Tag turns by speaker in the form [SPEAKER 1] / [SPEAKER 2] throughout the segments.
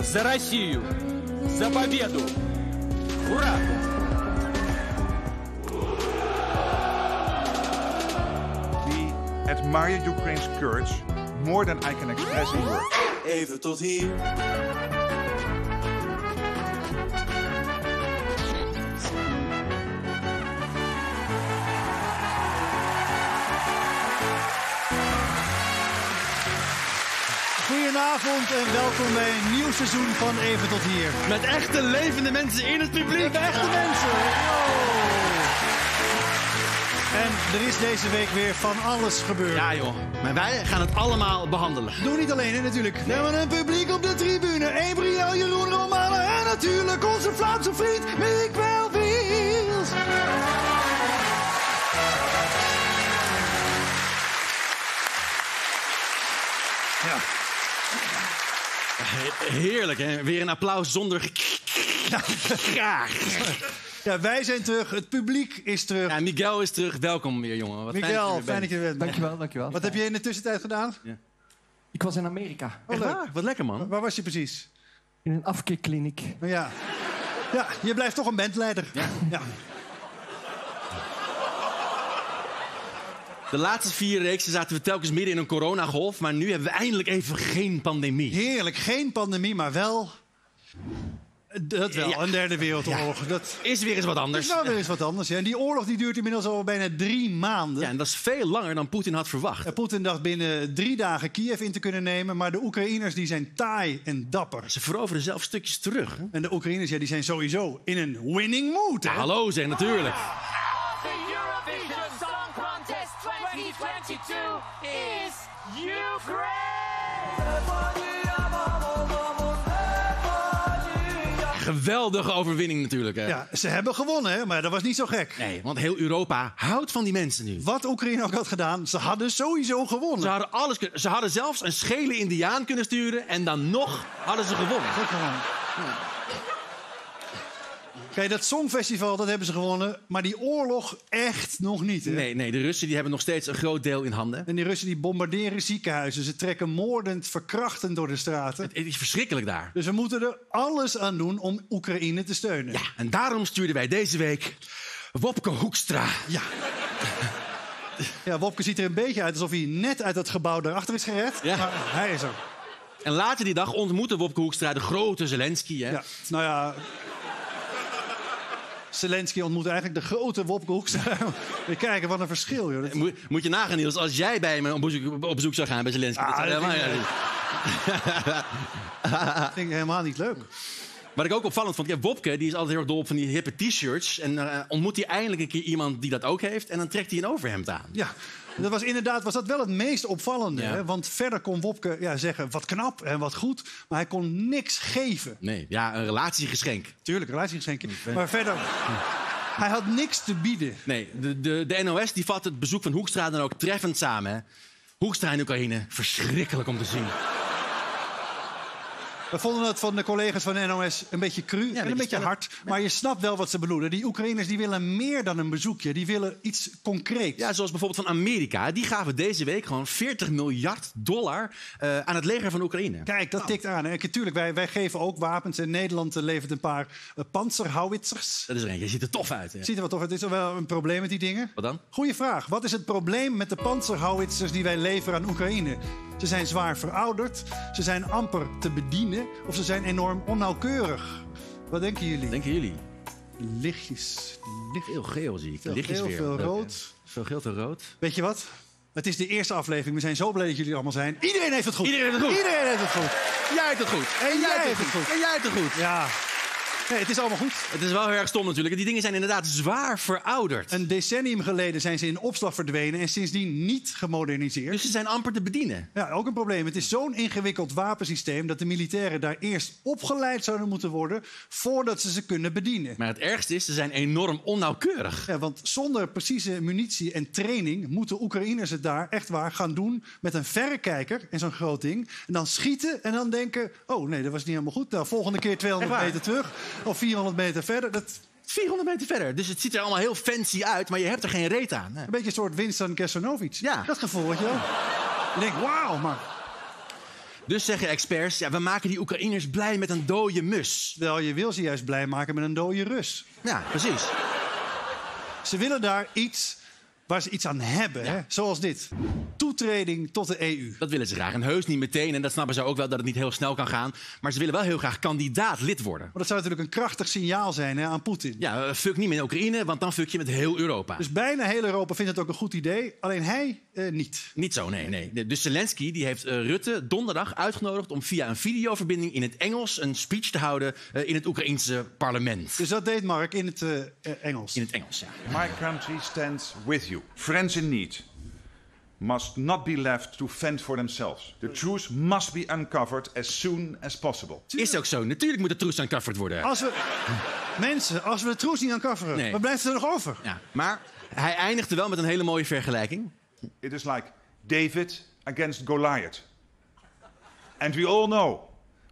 [SPEAKER 1] За Россию! За победу! Ура!
[SPEAKER 2] We admire Ukraine's courage more than I can express in words.
[SPEAKER 3] Even tot hier.
[SPEAKER 4] Goedenavond en welkom bij een nieuw seizoen van Even tot hier.
[SPEAKER 5] Met echte levende mensen in het publiek.
[SPEAKER 4] Met echte mensen. En er is deze week weer van alles gebeurd.
[SPEAKER 5] Ja joh, maar wij gaan het allemaal behandelen.
[SPEAKER 4] Doe niet alleen hè, natuurlijk. We hebben een publiek op de tribune. Embriel, Jeroen Romane en natuurlijk onze Vlaamse vriend Mick Wiels. Ja.
[SPEAKER 5] He- Heerlijk hè, weer een applaus zonder... Graag.
[SPEAKER 4] ja, wij zijn terug. Het publiek is terug.
[SPEAKER 5] Ja, Miguel is terug. Welkom weer jongen. Wat fijn dat je
[SPEAKER 4] Miguel,
[SPEAKER 5] er
[SPEAKER 4] fijn dat
[SPEAKER 5] bent.
[SPEAKER 4] je er bent.
[SPEAKER 6] Dankjewel, dankjewel.
[SPEAKER 4] Wat heb je in de tussentijd gedaan?
[SPEAKER 6] Ik was in Amerika.
[SPEAKER 4] Oh,
[SPEAKER 5] Echt
[SPEAKER 4] leuk.
[SPEAKER 5] waar? Ah, Wat lekker man.
[SPEAKER 4] Waar was je precies?
[SPEAKER 6] In een afkeerkliniek.
[SPEAKER 4] Nou Ja. ja, je blijft toch een bandleider. Ja.
[SPEAKER 5] De laatste vier reeksen zaten we telkens midden in een coronagolf. Maar nu hebben we eindelijk even geen pandemie.
[SPEAKER 4] Heerlijk, geen pandemie, maar wel... Dat wel,
[SPEAKER 5] Ja.
[SPEAKER 4] een derde wereldoorlog. Dat
[SPEAKER 5] Is weer eens wat
[SPEAKER 4] is
[SPEAKER 5] anders.
[SPEAKER 4] wel weer eens wat anders. hè. En die oorlog die duurt inmiddels al bijna drie maanden.
[SPEAKER 5] Ja, en dat is veel langer dan Poetin had verwacht.
[SPEAKER 4] En Poetin dacht binnen drie dagen Kiev in te kunnen nemen... maar de Oekraïners die zijn taai en dapper.
[SPEAKER 5] Ze veroveren zelf stukjes terug. hè?
[SPEAKER 4] En de Oekraïners ja, die zijn sowieso in een winning mood. hè.
[SPEAKER 5] Hallo zeg, natuurlijk.
[SPEAKER 7] The Eurovision Song Contest 2022 is Ukraine!
[SPEAKER 5] Geweldige overwinning natuurlijk hè.
[SPEAKER 4] Ja, ze hebben gewonnen, hè, maar dat was niet zo gek.
[SPEAKER 5] Nee, want heel Europa houdt van die mensen nu.
[SPEAKER 4] Wat Oekraïne ook had gedaan, ze hadden sowieso
[SPEAKER 5] Ze
[SPEAKER 4] gewonnen.
[SPEAKER 5] hadden, alles kun- ze hadden zelfs een schele indiaan kunnen sturen en dan nog hadden ze gewonnen.
[SPEAKER 4] Kijk, dat Songfestival, dat hebben ze gewonnen. Maar die oorlog echt nog niet. Hè?
[SPEAKER 5] Nee, nee, de Russen die hebben nog steeds een groot deel in handen.
[SPEAKER 4] En die Russen die bombarderen ziekenhuizen. Ze trekken moordend, verkrachtend door de straten.
[SPEAKER 5] Het is verschrikkelijk daar.
[SPEAKER 4] Dus we moeten er alles aan doen om Oekraïne te steunen.
[SPEAKER 5] Ja, en daarom stuurden wij deze week Wopke Hoekstra.
[SPEAKER 4] Ja. Ja, Wopke ziet er een beetje uit alsof hij net uit dat gebouw daarachter is gered.
[SPEAKER 5] Ja.
[SPEAKER 4] Maar hij is er.
[SPEAKER 5] En later die dag ontmoette Wopke Hoekstra de grote Zelensky. Hè?
[SPEAKER 4] Ja. Nou ja... Zelensky ontmoet eigenlijk de grote Wopke Hoekstra. We kijken, wat een verschil, joh. Dat-
[SPEAKER 5] Moe- moet je nagaan, Niels, als jij bij me op bezoek, op bezoek zou gaan bij Zelensky.
[SPEAKER 4] Ah,
[SPEAKER 5] dat zou
[SPEAKER 4] dat
[SPEAKER 5] helemaal
[SPEAKER 4] vind ik
[SPEAKER 5] niet-
[SPEAKER 4] vind ik helemaal niet leuk.
[SPEAKER 5] Wat ik ook opvallend vond, ja, Wopke die is altijd heel erg dol op van die hippe t-shirts. En eh, ontmoet hij eindelijk een keer iemand die dat ook heeft. En dan trekt hij een overhemd aan.
[SPEAKER 4] Ja, dat was inderdaad was dat wel het meest opvallende.
[SPEAKER 5] Ja.
[SPEAKER 4] Hè? Want verder kon Wopke ja, zeggen wat knap en wat goed. Maar hij kon niks geven.
[SPEAKER 5] Nee, ja, een relatiegeschenk.
[SPEAKER 4] Tuurlijk, relatiegeschenkje. Maar verder, hij had niks te bieden.
[SPEAKER 5] Nee, de, de, de NOS die vat het bezoek van Hoekstra dan ook treffend samen. Hè? Hoekstra in Oekraïne, verschrikkelijk om te zien.
[SPEAKER 4] We vonden dat van de collega's van de NOS een beetje cru en een
[SPEAKER 5] beetje
[SPEAKER 4] beetje
[SPEAKER 5] stellig.
[SPEAKER 4] hard. Maar je snapt wel wat ze bedoelen. Die Oekraïners die willen meer dan een bezoekje. Die willen iets concreets.
[SPEAKER 5] Ja, zoals bijvoorbeeld van Amerika. Die gaven deze week gewoon 40 miljard dollar eh, aan het leger van Oekraïne.
[SPEAKER 4] Kijk, dat tikt aan. En natuurlijk, wij, wij geven ook wapens. En Nederland eh, levert een paar eh, panzerhauwitsers.
[SPEAKER 5] Dat is er eentje, ziet er tof uit. Hè?
[SPEAKER 4] Ziet er wat toch? Het is wel een probleem met die dingen.
[SPEAKER 5] Wat dan?
[SPEAKER 4] Goeie vraag. Wat is het probleem met de panzerhouwitsers die wij leveren aan Oekraïne? Ze zijn zwaar verouderd, ze zijn amper te bedienen of ze zijn enorm onnauwkeurig. Wat denken jullie?
[SPEAKER 5] Denken jullie?
[SPEAKER 4] Lichtjes. lichtjes.
[SPEAKER 5] Heel geel zie ik.
[SPEAKER 4] Veel
[SPEAKER 5] Lichtjes
[SPEAKER 4] geel,
[SPEAKER 5] weer.
[SPEAKER 4] veel
[SPEAKER 5] Leuk, hè?
[SPEAKER 4] rood.
[SPEAKER 5] Veel geel, veel rood.
[SPEAKER 4] Weet je wat? Het is de eerste aflevering. We zijn zo blij dat jullie er allemaal zijn. Iedereen heeft het goed.
[SPEAKER 5] Iedereen heeft het goed.
[SPEAKER 4] Iedereen heeft het goed.
[SPEAKER 5] Jij hebt het goed.
[SPEAKER 4] En jij hebt het goed.
[SPEAKER 5] En jij hebt het goed.
[SPEAKER 4] Ja. Nee, het is allemaal goed.
[SPEAKER 5] Het is wel heel erg stom natuurlijk. Die dingen zijn inderdaad zwaar verouderd.
[SPEAKER 4] Een decennium geleden zijn ze in opslag verdwenen en sindsdien niet gemoderniseerd.
[SPEAKER 5] Dus ze zijn amper te bedienen.
[SPEAKER 4] Ja, ook een probleem. Het is zo'n ingewikkeld wapensysteem dat de militairen daar eerst opgeleid zouden moeten worden voordat ze ze kunnen bedienen.
[SPEAKER 5] Maar het ergste is, ze zijn enorm onnauwkeurig.
[SPEAKER 4] Ja, want zonder precieze munitie en training moeten Oekraïners het daar echt waar gaan doen met een verrekijker en zo'n groot ding. En dan schieten en dan denken: oh nee, dat was niet helemaal goed. Nou, volgende keer 200
[SPEAKER 5] Echt waar?
[SPEAKER 4] meter terug of 400 meter verder. Dat is
[SPEAKER 5] 400 meter verder. Dus het ziet er allemaal heel fancy uit, maar je hebt er geen reet aan. Nee.
[SPEAKER 4] een beetje een soort Winston Kersanovic.
[SPEAKER 5] Ja.
[SPEAKER 4] Dat gevoel, weet je wel. Je denkt: wauw, maar
[SPEAKER 5] Dus zeggen experts, ja, we maken die Oekraïners blij met een dode mus.
[SPEAKER 4] Terwijl je wil ze juist blij maken met een dode Rus.
[SPEAKER 5] Ja, precies.
[SPEAKER 4] Ze willen daar iets waar ze iets aan hebben. Hè? Zoals dit. Toetreding tot de E EU.
[SPEAKER 5] Dat willen ze graag. En heus niet meteen. En dat snappen ze ook wel dat het niet heel snel kan gaan. Maar ze willen wel heel graag kandidaat lid worden.
[SPEAKER 4] Maar dat zou natuurlijk een krachtig signaal zijn hè, aan Poetin.
[SPEAKER 5] Ja, eh, fuck niet met Oekraïne, want dan fuck je met heel Europa.
[SPEAKER 4] Dus bijna heel Europa vindt het ook een goed idee. Alleen hij eh, niet.
[SPEAKER 5] Niet zo, nee, nee. Dus Zelensky die heeft eh, Rutte donderdag uitgenodigd om via een videoverbinding in het Engels een speech te houden eh, in het Oekraïense parlement.
[SPEAKER 4] Dus dat deed Mark in het eh, eh, Engels.
[SPEAKER 5] In het Engels, ja.
[SPEAKER 2] My country stands with you. Friends in need must not be left to fend for themselves. The truth must be uncovered as soon as possible.
[SPEAKER 5] Is ook zo. Natuurlijk moet de troes aan Kaffert worden.
[SPEAKER 4] Als we, mensen, als we de troes niet aan kafferen,
[SPEAKER 5] Nee.
[SPEAKER 4] wat blijft er nog over?
[SPEAKER 5] Ja. Maar hij eindigde wel met een hele mooie vergelijking.
[SPEAKER 2] It is like David against Goliath. And we all know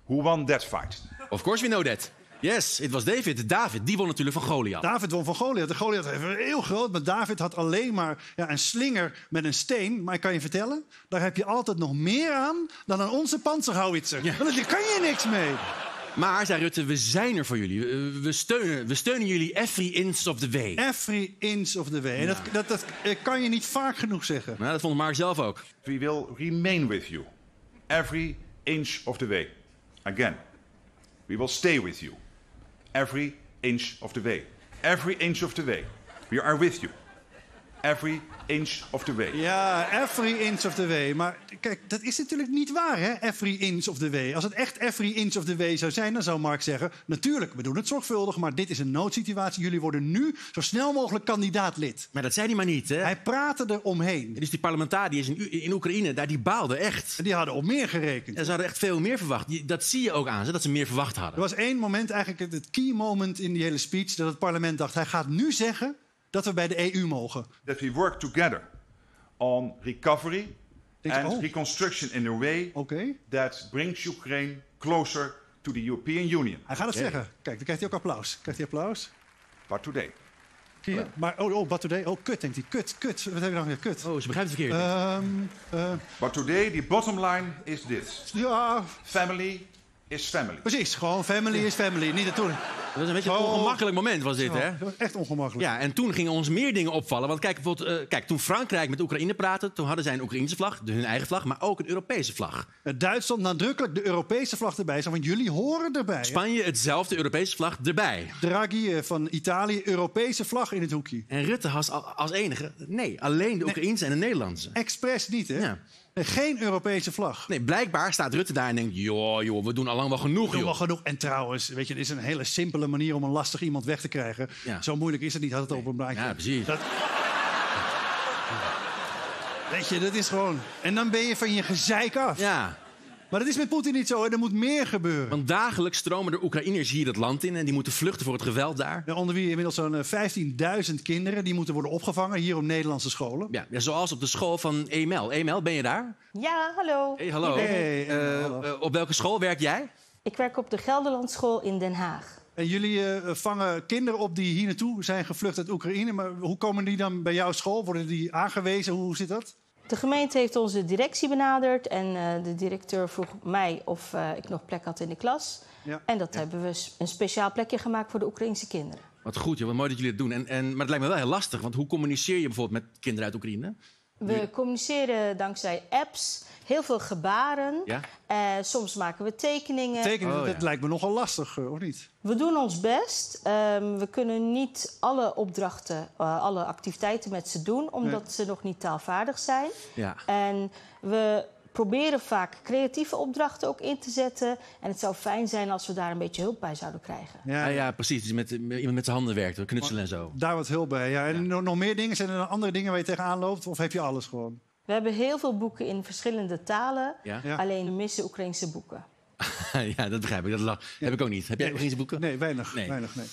[SPEAKER 2] who won that fight.
[SPEAKER 5] Of course we know that. Yes, it was David. David, die won natuurlijk van Goliath.
[SPEAKER 4] David won van Goliath. De Goliath was heel groot, maar David had alleen maar ja, een slinger met een steen. Maar ik kan je vertellen, daar heb je altijd nog meer aan dan aan onze panzerhauwitser. Want daar kan je niks mee.
[SPEAKER 5] Maar, zei Rutte, we zijn er voor jullie. Eh, We steunen, we steunen jullie every inch of the way.
[SPEAKER 4] Every inch of the way. En dat, dat, dat eh, kan je niet vaak genoeg zeggen.
[SPEAKER 5] Nou, dat vond Mark zelf ook.
[SPEAKER 2] We will remain with you every inch of the way. Again, we will stay with you every inch of the way. Every inch of the way. We are with you every inch of the way.
[SPEAKER 4] Ja, every inch of the way. Maar kijk, dat is natuurlijk niet waar, hè? Every inch of the way. Als het echt every inch of the way zou zijn, dan zou Mark zeggen... natuurlijk, we doen het zorgvuldig, maar dit is een noodsituatie. Jullie worden nu zo snel mogelijk kandidaat-lid.
[SPEAKER 5] Maar dat zei hij maar niet, hè?
[SPEAKER 4] Hij praatte er omheen.
[SPEAKER 5] Dus die parlementariërs in, U- in Oekraïne, daar, die baalden echt.
[SPEAKER 4] En die hadden op meer gerekend.
[SPEAKER 5] Ja, ze hadden echt veel meer verwacht. Die- Dat zie je ook aan ze, dat ze meer verwacht
[SPEAKER 4] Er
[SPEAKER 5] hadden.
[SPEAKER 4] was één moment, eigenlijk het- het key moment in die hele speech... dat het parlement dacht, hij gaat nu zeggen dat we bij de EU mogen.
[SPEAKER 2] That we work together on recovery
[SPEAKER 4] Think-
[SPEAKER 2] and
[SPEAKER 4] oh.
[SPEAKER 2] reconstruction in a way
[SPEAKER 4] Oké,
[SPEAKER 2] that brings Ukraine closer to the European Union.
[SPEAKER 4] hij gaat het zeggen. Kijk, dan krijgt hij ook applaus. Krijgt hij applaus?
[SPEAKER 2] But today,
[SPEAKER 4] Zie je? Maar, oh, oh, what today? Oh, kut, denkt hij. Kut, kut. Wat heb ik nou weer? Kut.
[SPEAKER 5] Oh, ze begrijpt het verkeerd.
[SPEAKER 4] Ehm, eh,
[SPEAKER 2] but today the bottom line is this:
[SPEAKER 4] ja,
[SPEAKER 2] family is family.
[SPEAKER 4] precies. Gewoon family is family. Niet naartoe.
[SPEAKER 5] dat was een beetje een
[SPEAKER 4] oh.
[SPEAKER 5] ongemakkelijk moment, was dit, hè?
[SPEAKER 4] Dat was echt ongemakkelijk.
[SPEAKER 5] Ja, en toen gingen ons meer dingen opvallen. Want kijk, bijvoorbeeld, eh, kijk, toen Frankrijk met Oekraïne praatte... toen hadden zij een Oekraïnse vlag, de- hun eigen vlag... maar ook een Europese vlag.
[SPEAKER 4] Eh, Duitsland nadrukkelijk de Europese vlag erbij. Zo, want jullie horen erbij. hè?
[SPEAKER 5] Spanje hetzelfde Europese vlag erbij.
[SPEAKER 4] Draghi eh, van Italië, Europese vlag in het hoekje.
[SPEAKER 5] En Rutte had al- als enige... Nee, alleen de Oekraïense en de Nederlandse.
[SPEAKER 4] Expres niet, hè?
[SPEAKER 5] Ja.
[SPEAKER 4] Nee, Geen Europese vlag.
[SPEAKER 5] Nee, blijkbaar staat Rutte daar en denkt... joh, joh, we doen allang wel genoeg,
[SPEAKER 4] Doe wel
[SPEAKER 5] joh.
[SPEAKER 4] genoeg. En trouwens, weet je, het is een hele simpele manier om een lastig iemand weg te krijgen.
[SPEAKER 5] Ja.
[SPEAKER 4] Zo moeilijk is het niet, had het op een blaadje.
[SPEAKER 5] Ja, precies.
[SPEAKER 4] Dat- Weet je, dat is gewoon... En dan ben je van je gezeik af.
[SPEAKER 5] Ja,
[SPEAKER 4] Maar dat is met Poetin niet zo. hè. Er moet meer gebeuren.
[SPEAKER 5] want dagelijks stromen er Oekraïners hier het land in... en die moeten vluchten voor het geweld daar.
[SPEAKER 4] Ja, Onder wie inmiddels zo'n eh, 15.000 kinderen. Die moeten worden opgevangen hier op Nederlandse scholen.
[SPEAKER 5] Ja, ja, zoals op de school van E Emel. Emel, ben je daar?
[SPEAKER 3] Ja, hallo.
[SPEAKER 5] Hey, hallo.
[SPEAKER 4] Hey,
[SPEAKER 5] Eh, eh, op welke school werk jij?
[SPEAKER 3] Ik werk op de Gelderlandschool in Den Haag.
[SPEAKER 4] En jullie eh, vangen kinderen op die hier naartoe zijn gevlucht uit Oekraïne. Maar hoe komen die dan bij jouw school? Worden die aangewezen? Hoe zit dat?
[SPEAKER 3] De gemeente heeft onze directie benaderd en eh, de directeur vroeg mij of eh, ik nog plek had in de klas.
[SPEAKER 4] Ja.
[SPEAKER 3] En dat hebben we s- een speciaal plekje gemaakt voor de Oekraïnse kinderen.
[SPEAKER 5] Wat goed, joh. Wat mooi dat jullie dat doen. En, en, maar het lijkt me wel heel lastig. Want hoe communiceer je bijvoorbeeld met kinderen uit Oekraïne?
[SPEAKER 3] We communiceren dankzij apps, heel veel gebaren.
[SPEAKER 5] Ja?
[SPEAKER 3] Eh, soms maken we tekeningen.
[SPEAKER 4] Tekenen,
[SPEAKER 5] Oh,
[SPEAKER 4] dat
[SPEAKER 5] ja.
[SPEAKER 4] lijkt me nogal lastig, eh, of niet?
[SPEAKER 3] we doen ons best. Ehm, we kunnen niet alle opdrachten, eh, alle activiteiten met ze doen, omdat ze nog niet taalvaardig zijn.
[SPEAKER 5] Ja.
[SPEAKER 3] En we proberen vaak creatieve opdrachten ook in te zetten. En het zou fijn zijn als we daar een beetje hulp bij zouden krijgen.
[SPEAKER 5] Ja, ja, precies. Dus met, met- iemand met zijn handen werkt, knutselen en zo.
[SPEAKER 4] Daar wat hulp bij. Ja. En no- nog meer dingen? Zijn er nog andere dingen waar je tegenaan loopt? Of heb je alles gewoon?
[SPEAKER 3] We hebben heel veel boeken in verschillende talen.
[SPEAKER 5] Ja?
[SPEAKER 4] Ja.
[SPEAKER 3] Alleen we missen Oekraïnse boeken.
[SPEAKER 5] Ja, dat begrijp ik. Dat la- heb ik ook niet. Heb jij Oekraïnse boeken?
[SPEAKER 4] Nee, weinig.
[SPEAKER 5] Nee.
[SPEAKER 4] weinig nee.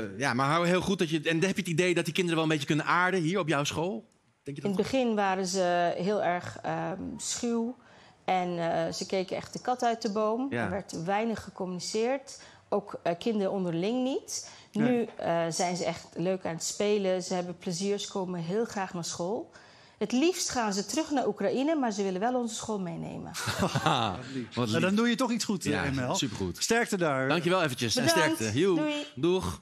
[SPEAKER 5] Eh, ja, maar hou heel goed dat je... En heb je het idee dat die kinderen wel een beetje kunnen aarden hier op jouw school? Denk je
[SPEAKER 3] In
[SPEAKER 5] dat?
[SPEAKER 3] het begin waren ze heel erg ehm, schuw. En eh, ze keken echt de kat uit de boom.
[SPEAKER 5] Ja.
[SPEAKER 3] Er werd weinig gecommuniceerd. Ook eh, kinderen onderling niet. Nu eh, zijn ze echt leuk aan het spelen. Ze hebben plezier. Ze komen heel graag naar school. Het liefst gaan ze terug naar Oekraïne, maar ze willen wel onze school meenemen.
[SPEAKER 5] Haha, Ah,
[SPEAKER 4] Nou,
[SPEAKER 5] wat lief.
[SPEAKER 4] dan doe je toch iets goed, eh,
[SPEAKER 5] Ja,
[SPEAKER 4] ML.
[SPEAKER 5] supergoed.
[SPEAKER 4] Sterkte daar.
[SPEAKER 5] Dankjewel eventjes en
[SPEAKER 3] Bedankt.
[SPEAKER 5] sterkte. Joe.
[SPEAKER 3] Doei.
[SPEAKER 5] Doeg.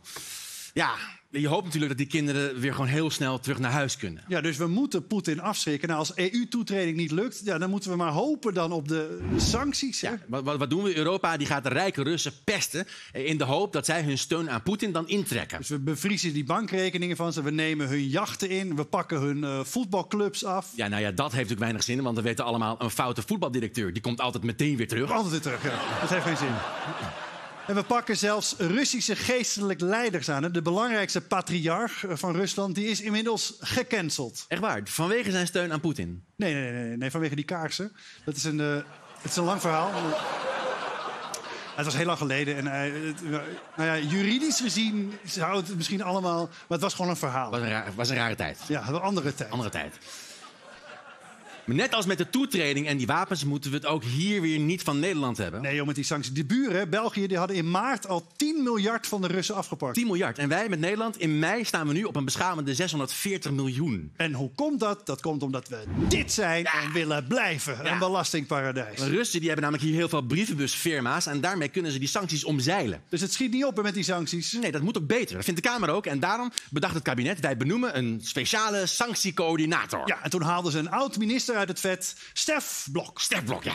[SPEAKER 5] Ja, je hoopt natuurlijk dat die kinderen weer gewoon heel snel terug naar huis kunnen.
[SPEAKER 4] Ja, dus we moeten Poetin afschrikken. Nou, als EU-toetreding niet lukt, ja, dan moeten we maar hopen dan op de sancties. hè?
[SPEAKER 5] Ja, wat, wat, wat doen we? Europa die gaat de rijke Russen pesten eh, in de hoop dat zij hun steun aan Poetin dan intrekken.
[SPEAKER 4] Dus we bevriezen die bankrekeningen van ze, we nemen hun jachten in, we pakken hun eh, voetbalclubs af.
[SPEAKER 5] Ja, nou ja, dat heeft natuurlijk weinig zin, want we weten allemaal... een foute voetbaldirecteur, die komt altijd meteen weer terug.
[SPEAKER 4] Altijd weer terug, ja. Dat heeft geen zin. En we pakken zelfs Russische geestelijk leiders aan. hè. De belangrijkste patriarch eh, van Rusland die is inmiddels gecanceld.
[SPEAKER 5] Echt waar, vanwege zijn steun aan Poetin.
[SPEAKER 4] Nee, nee, nee, nee, nee, vanwege die kaarsen. Dat is een, eh, het is een lang verhaal. Het was heel lang geleden. En, eh, het- nou ja, juridisch gezien zou het misschien allemaal... Maar het was gewoon een verhaal.
[SPEAKER 5] Was een, raar- was een rare tijd.
[SPEAKER 4] Ja, een andere tijd.
[SPEAKER 5] Andere tijd. Maar net als met de toetreding en die wapens moeten we het ook hier weer niet van Nederland hebben.
[SPEAKER 4] Nee, joh, met die sancties. De buren, België, die hadden in maart al 10 miljard van de Russen afgepakt.
[SPEAKER 5] 10 miljard. En wij met Nederland, in mei staan we nu op een beschamende 640 miljoen.
[SPEAKER 4] En hoe komt dat? Dat komt omdat we dit zijn en willen blijven. Een belastingparadijs.
[SPEAKER 5] De Russen die hebben namelijk hier heel veel brievenbusfirma's en daarmee kunnen ze die sancties omzeilen.
[SPEAKER 4] Dus het schiet niet op hè, met die sancties.
[SPEAKER 5] Nee, dat moet ook beter. Dat vindt de Kamer ook. En daarom bedacht het kabinet, wij benoemen een speciale sanctiecoördinator.
[SPEAKER 4] Ja, en toen haalden ze een oud-minister uit het vet, Stef Blok.
[SPEAKER 5] Stef Blok, ja.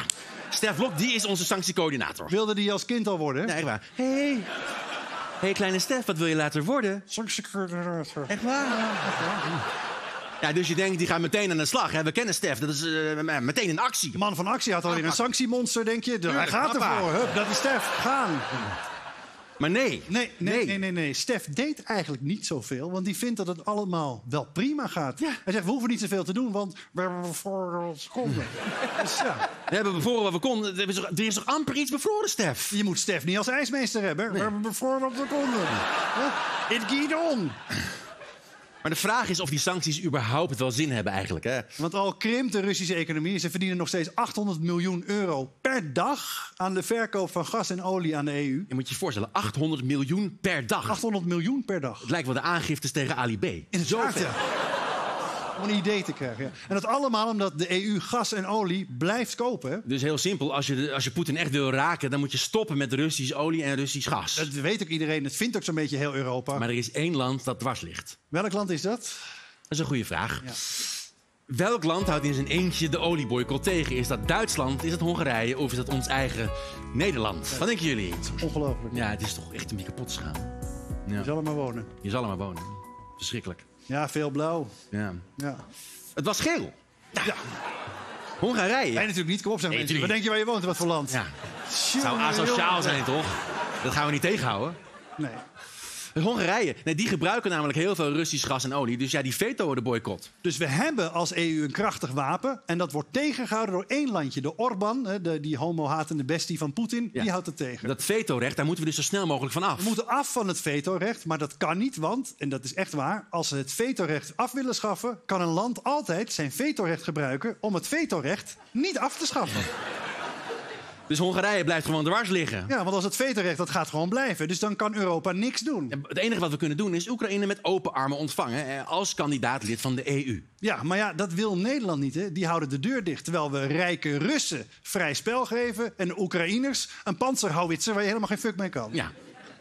[SPEAKER 5] Stef Blok, die is onze sanctiecoördinator.
[SPEAKER 4] Wilde die als kind al worden? hè?
[SPEAKER 5] Nee, echt waar. Hé, hey. hey, kleine Stef, wat wil je later worden? Echt waar? Ja, dus je denkt, die gaan meteen aan de slag. Hè? We kennen Stef, dat is eh, meteen een actie.
[SPEAKER 4] De man van actie had alweer een sanctiemonster, denk je? Hij
[SPEAKER 5] Tuurlijk,
[SPEAKER 4] gaat
[SPEAKER 5] papa.
[SPEAKER 4] ervoor. Hup, dat is Stef. Gaan.
[SPEAKER 5] Maar nee.
[SPEAKER 4] Nee, nee, nee, nee. nee, Stef deed eigenlijk niet zoveel, want die vindt dat het allemaal wel prima gaat. Hij zegt, we hoeven niet zoveel te doen, want we hebben voor ons konden. dus ja,
[SPEAKER 5] We hebben bevroren wat we konden. Er is toch- er is toch amper iets bevroren, Stef?
[SPEAKER 4] je moet Stef niet als ijsmeester hebben. We hebben voor ons konden. Huh? It geht on.
[SPEAKER 5] Maar de vraag is of die sancties überhaupt wel zin hebben eigenlijk. Hè?
[SPEAKER 4] Want al krimpt de Russische economie. Ze verdienen nog steeds 800 miljoen euro per dag aan de verkoop van gas en olie aan de E EU.
[SPEAKER 5] Je moet je voorstellen, 800 miljoen per dag.
[SPEAKER 4] 800 miljoen per dag.
[SPEAKER 5] Het lijkt wel de aangiftes tegen Ali B.
[SPEAKER 4] In het zwart, ja. Om een idee te krijgen. ja. En dat allemaal omdat de EU gas en olie blijft kopen. hè.
[SPEAKER 5] Dus heel simpel, als je, de- als je Poetin echt wil raken... dan moet je stoppen met Russisch olie en Russisch gas.
[SPEAKER 4] Dat weet ook iedereen. Dat vindt ook zo'n beetje heel Europa.
[SPEAKER 5] Maar er is één land dat dwars ligt.
[SPEAKER 4] Welk land is dat?
[SPEAKER 5] Dat is een goede vraag. Welk land houdt in zijn eentje de olieboycott tegen? Is dat Duitsland, is dat Hongarije of is dat ons eigen Nederland? Wat denken jullie?
[SPEAKER 4] Ongelooflijk.
[SPEAKER 5] Ja, het is toch echt een beetje kapot te gaan.
[SPEAKER 4] Je zal er maar wonen.
[SPEAKER 5] Je zal er maar wonen. Verschrikkelijk.
[SPEAKER 4] Ja, veel blauw.
[SPEAKER 5] Ja.
[SPEAKER 4] Ja.
[SPEAKER 5] Het was geel. Hongarije.
[SPEAKER 4] Nee, natuurlijk niet. Kom op, zeg
[SPEAKER 5] Nee,
[SPEAKER 4] mensen. Wat
[SPEAKER 5] natuurlijk
[SPEAKER 4] denk je waar je woont? Wat voor land?
[SPEAKER 5] Ja, zou
[SPEAKER 4] Tjonge,
[SPEAKER 5] asociaal
[SPEAKER 4] jonge.
[SPEAKER 5] zijn, toch? Dat gaan we niet tegenhouden.
[SPEAKER 4] Nee.
[SPEAKER 5] Hongarije, nee, die gebruiken namelijk heel veel Russisch gas en olie. Dus ja, die vetoen de boycott.
[SPEAKER 4] Dus we hebben als EU een krachtig wapen. En dat wordt tegengehouden door één landje. De Orbán, hè, de, die homo-hatende bestie van Poetin,
[SPEAKER 5] Ja.
[SPEAKER 4] die houdt het tegen.
[SPEAKER 5] Dat vetorecht, daar moeten we dus zo snel mogelijk van af.
[SPEAKER 4] We moeten af van het vetorecht, maar dat kan niet, want, en dat is echt waar, als ze het vetorecht af willen schaffen, kan een land altijd zijn vetorecht gebruiken om het vetorecht niet af te schaffen.
[SPEAKER 5] Dus Hongarije blijft gewoon dwars liggen.
[SPEAKER 4] Ja, want als het vetorecht, dat gaat gewoon blijven. Dus dan kan Europa niks doen.
[SPEAKER 5] En Het enige wat we kunnen doen is Oekraïne met open armen ontvangen eh, als kandidaat lid van de E EU.
[SPEAKER 4] Ja, maar ja, dat wil Nederland niet, hè. Die houden de deur dicht, terwijl we rijke Russen vrij spel geven en de Oekraïners een panzerhouwitser waar je helemaal geen fuck mee kan.
[SPEAKER 5] Ja.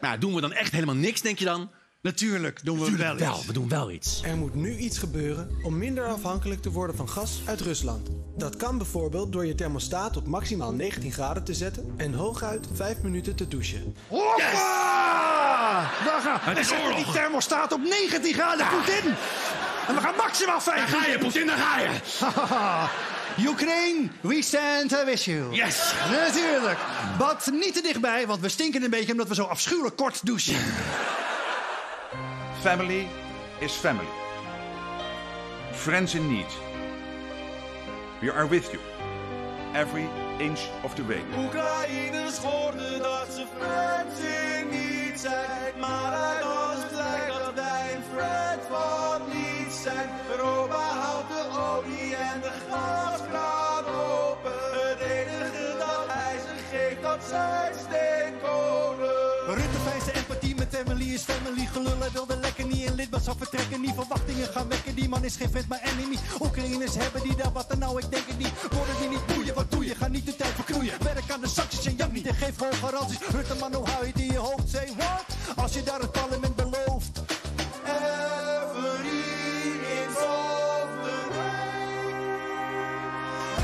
[SPEAKER 5] Maar ja, doen we dan echt helemaal niks, denk je dan?
[SPEAKER 4] Natuurlijk doen we wel iets.
[SPEAKER 5] Wel, we doen wel iets.
[SPEAKER 8] Er moet nu iets gebeuren om minder afhankelijk te worden van gas uit Rusland. Dat kan bijvoorbeeld door je thermostaat op maximaal 19 graden te zetten en hooguit 5 minuten te douchen.
[SPEAKER 4] Hoppa!
[SPEAKER 5] Ah,
[SPEAKER 4] Daar gaan we. En zet die thermostaat op 19 graden. Poetin! En we gaan maximaal 5.
[SPEAKER 5] ga je, Poetin, daar ga je!
[SPEAKER 4] Ukraine, we stand with you.
[SPEAKER 5] Yes!
[SPEAKER 4] Natuurlijk. Bad niet te dichtbij, want we stinken een beetje omdat we zo afschuwelijk kort douchen.
[SPEAKER 2] Family is family. Friends in need. We are with you. Every inch of the way.
[SPEAKER 7] Oekraïners hoorden dat ze friends in niet zijn. Maar uit ons blijkt dat wij een friend van niet zijn. Europa houdt de olie en de gaskraan open. Het enige dat hij ze geeft, dat zijn steenkolen.
[SPEAKER 8] Rutte vijst empathie met Emily is family gelul, hij wilde lekker niet
[SPEAKER 9] die een lidmaat zal vertrekken. Die verwachtingen gaan wekken. Die man is geen vriend, maar enemy. Oekraïners hebben die daar wat dan nou? Ik denk het niet. Worden die niet boeien? Wat doe je? Ga niet de tijd verknoeien. Werk aan de zakjes en jank niet. En geef gewoon garanties. Rutte man, hoe hou je die in je hoofd? Say what? Als je daar het parlement belooft.
[SPEAKER 7] Every inch of the way.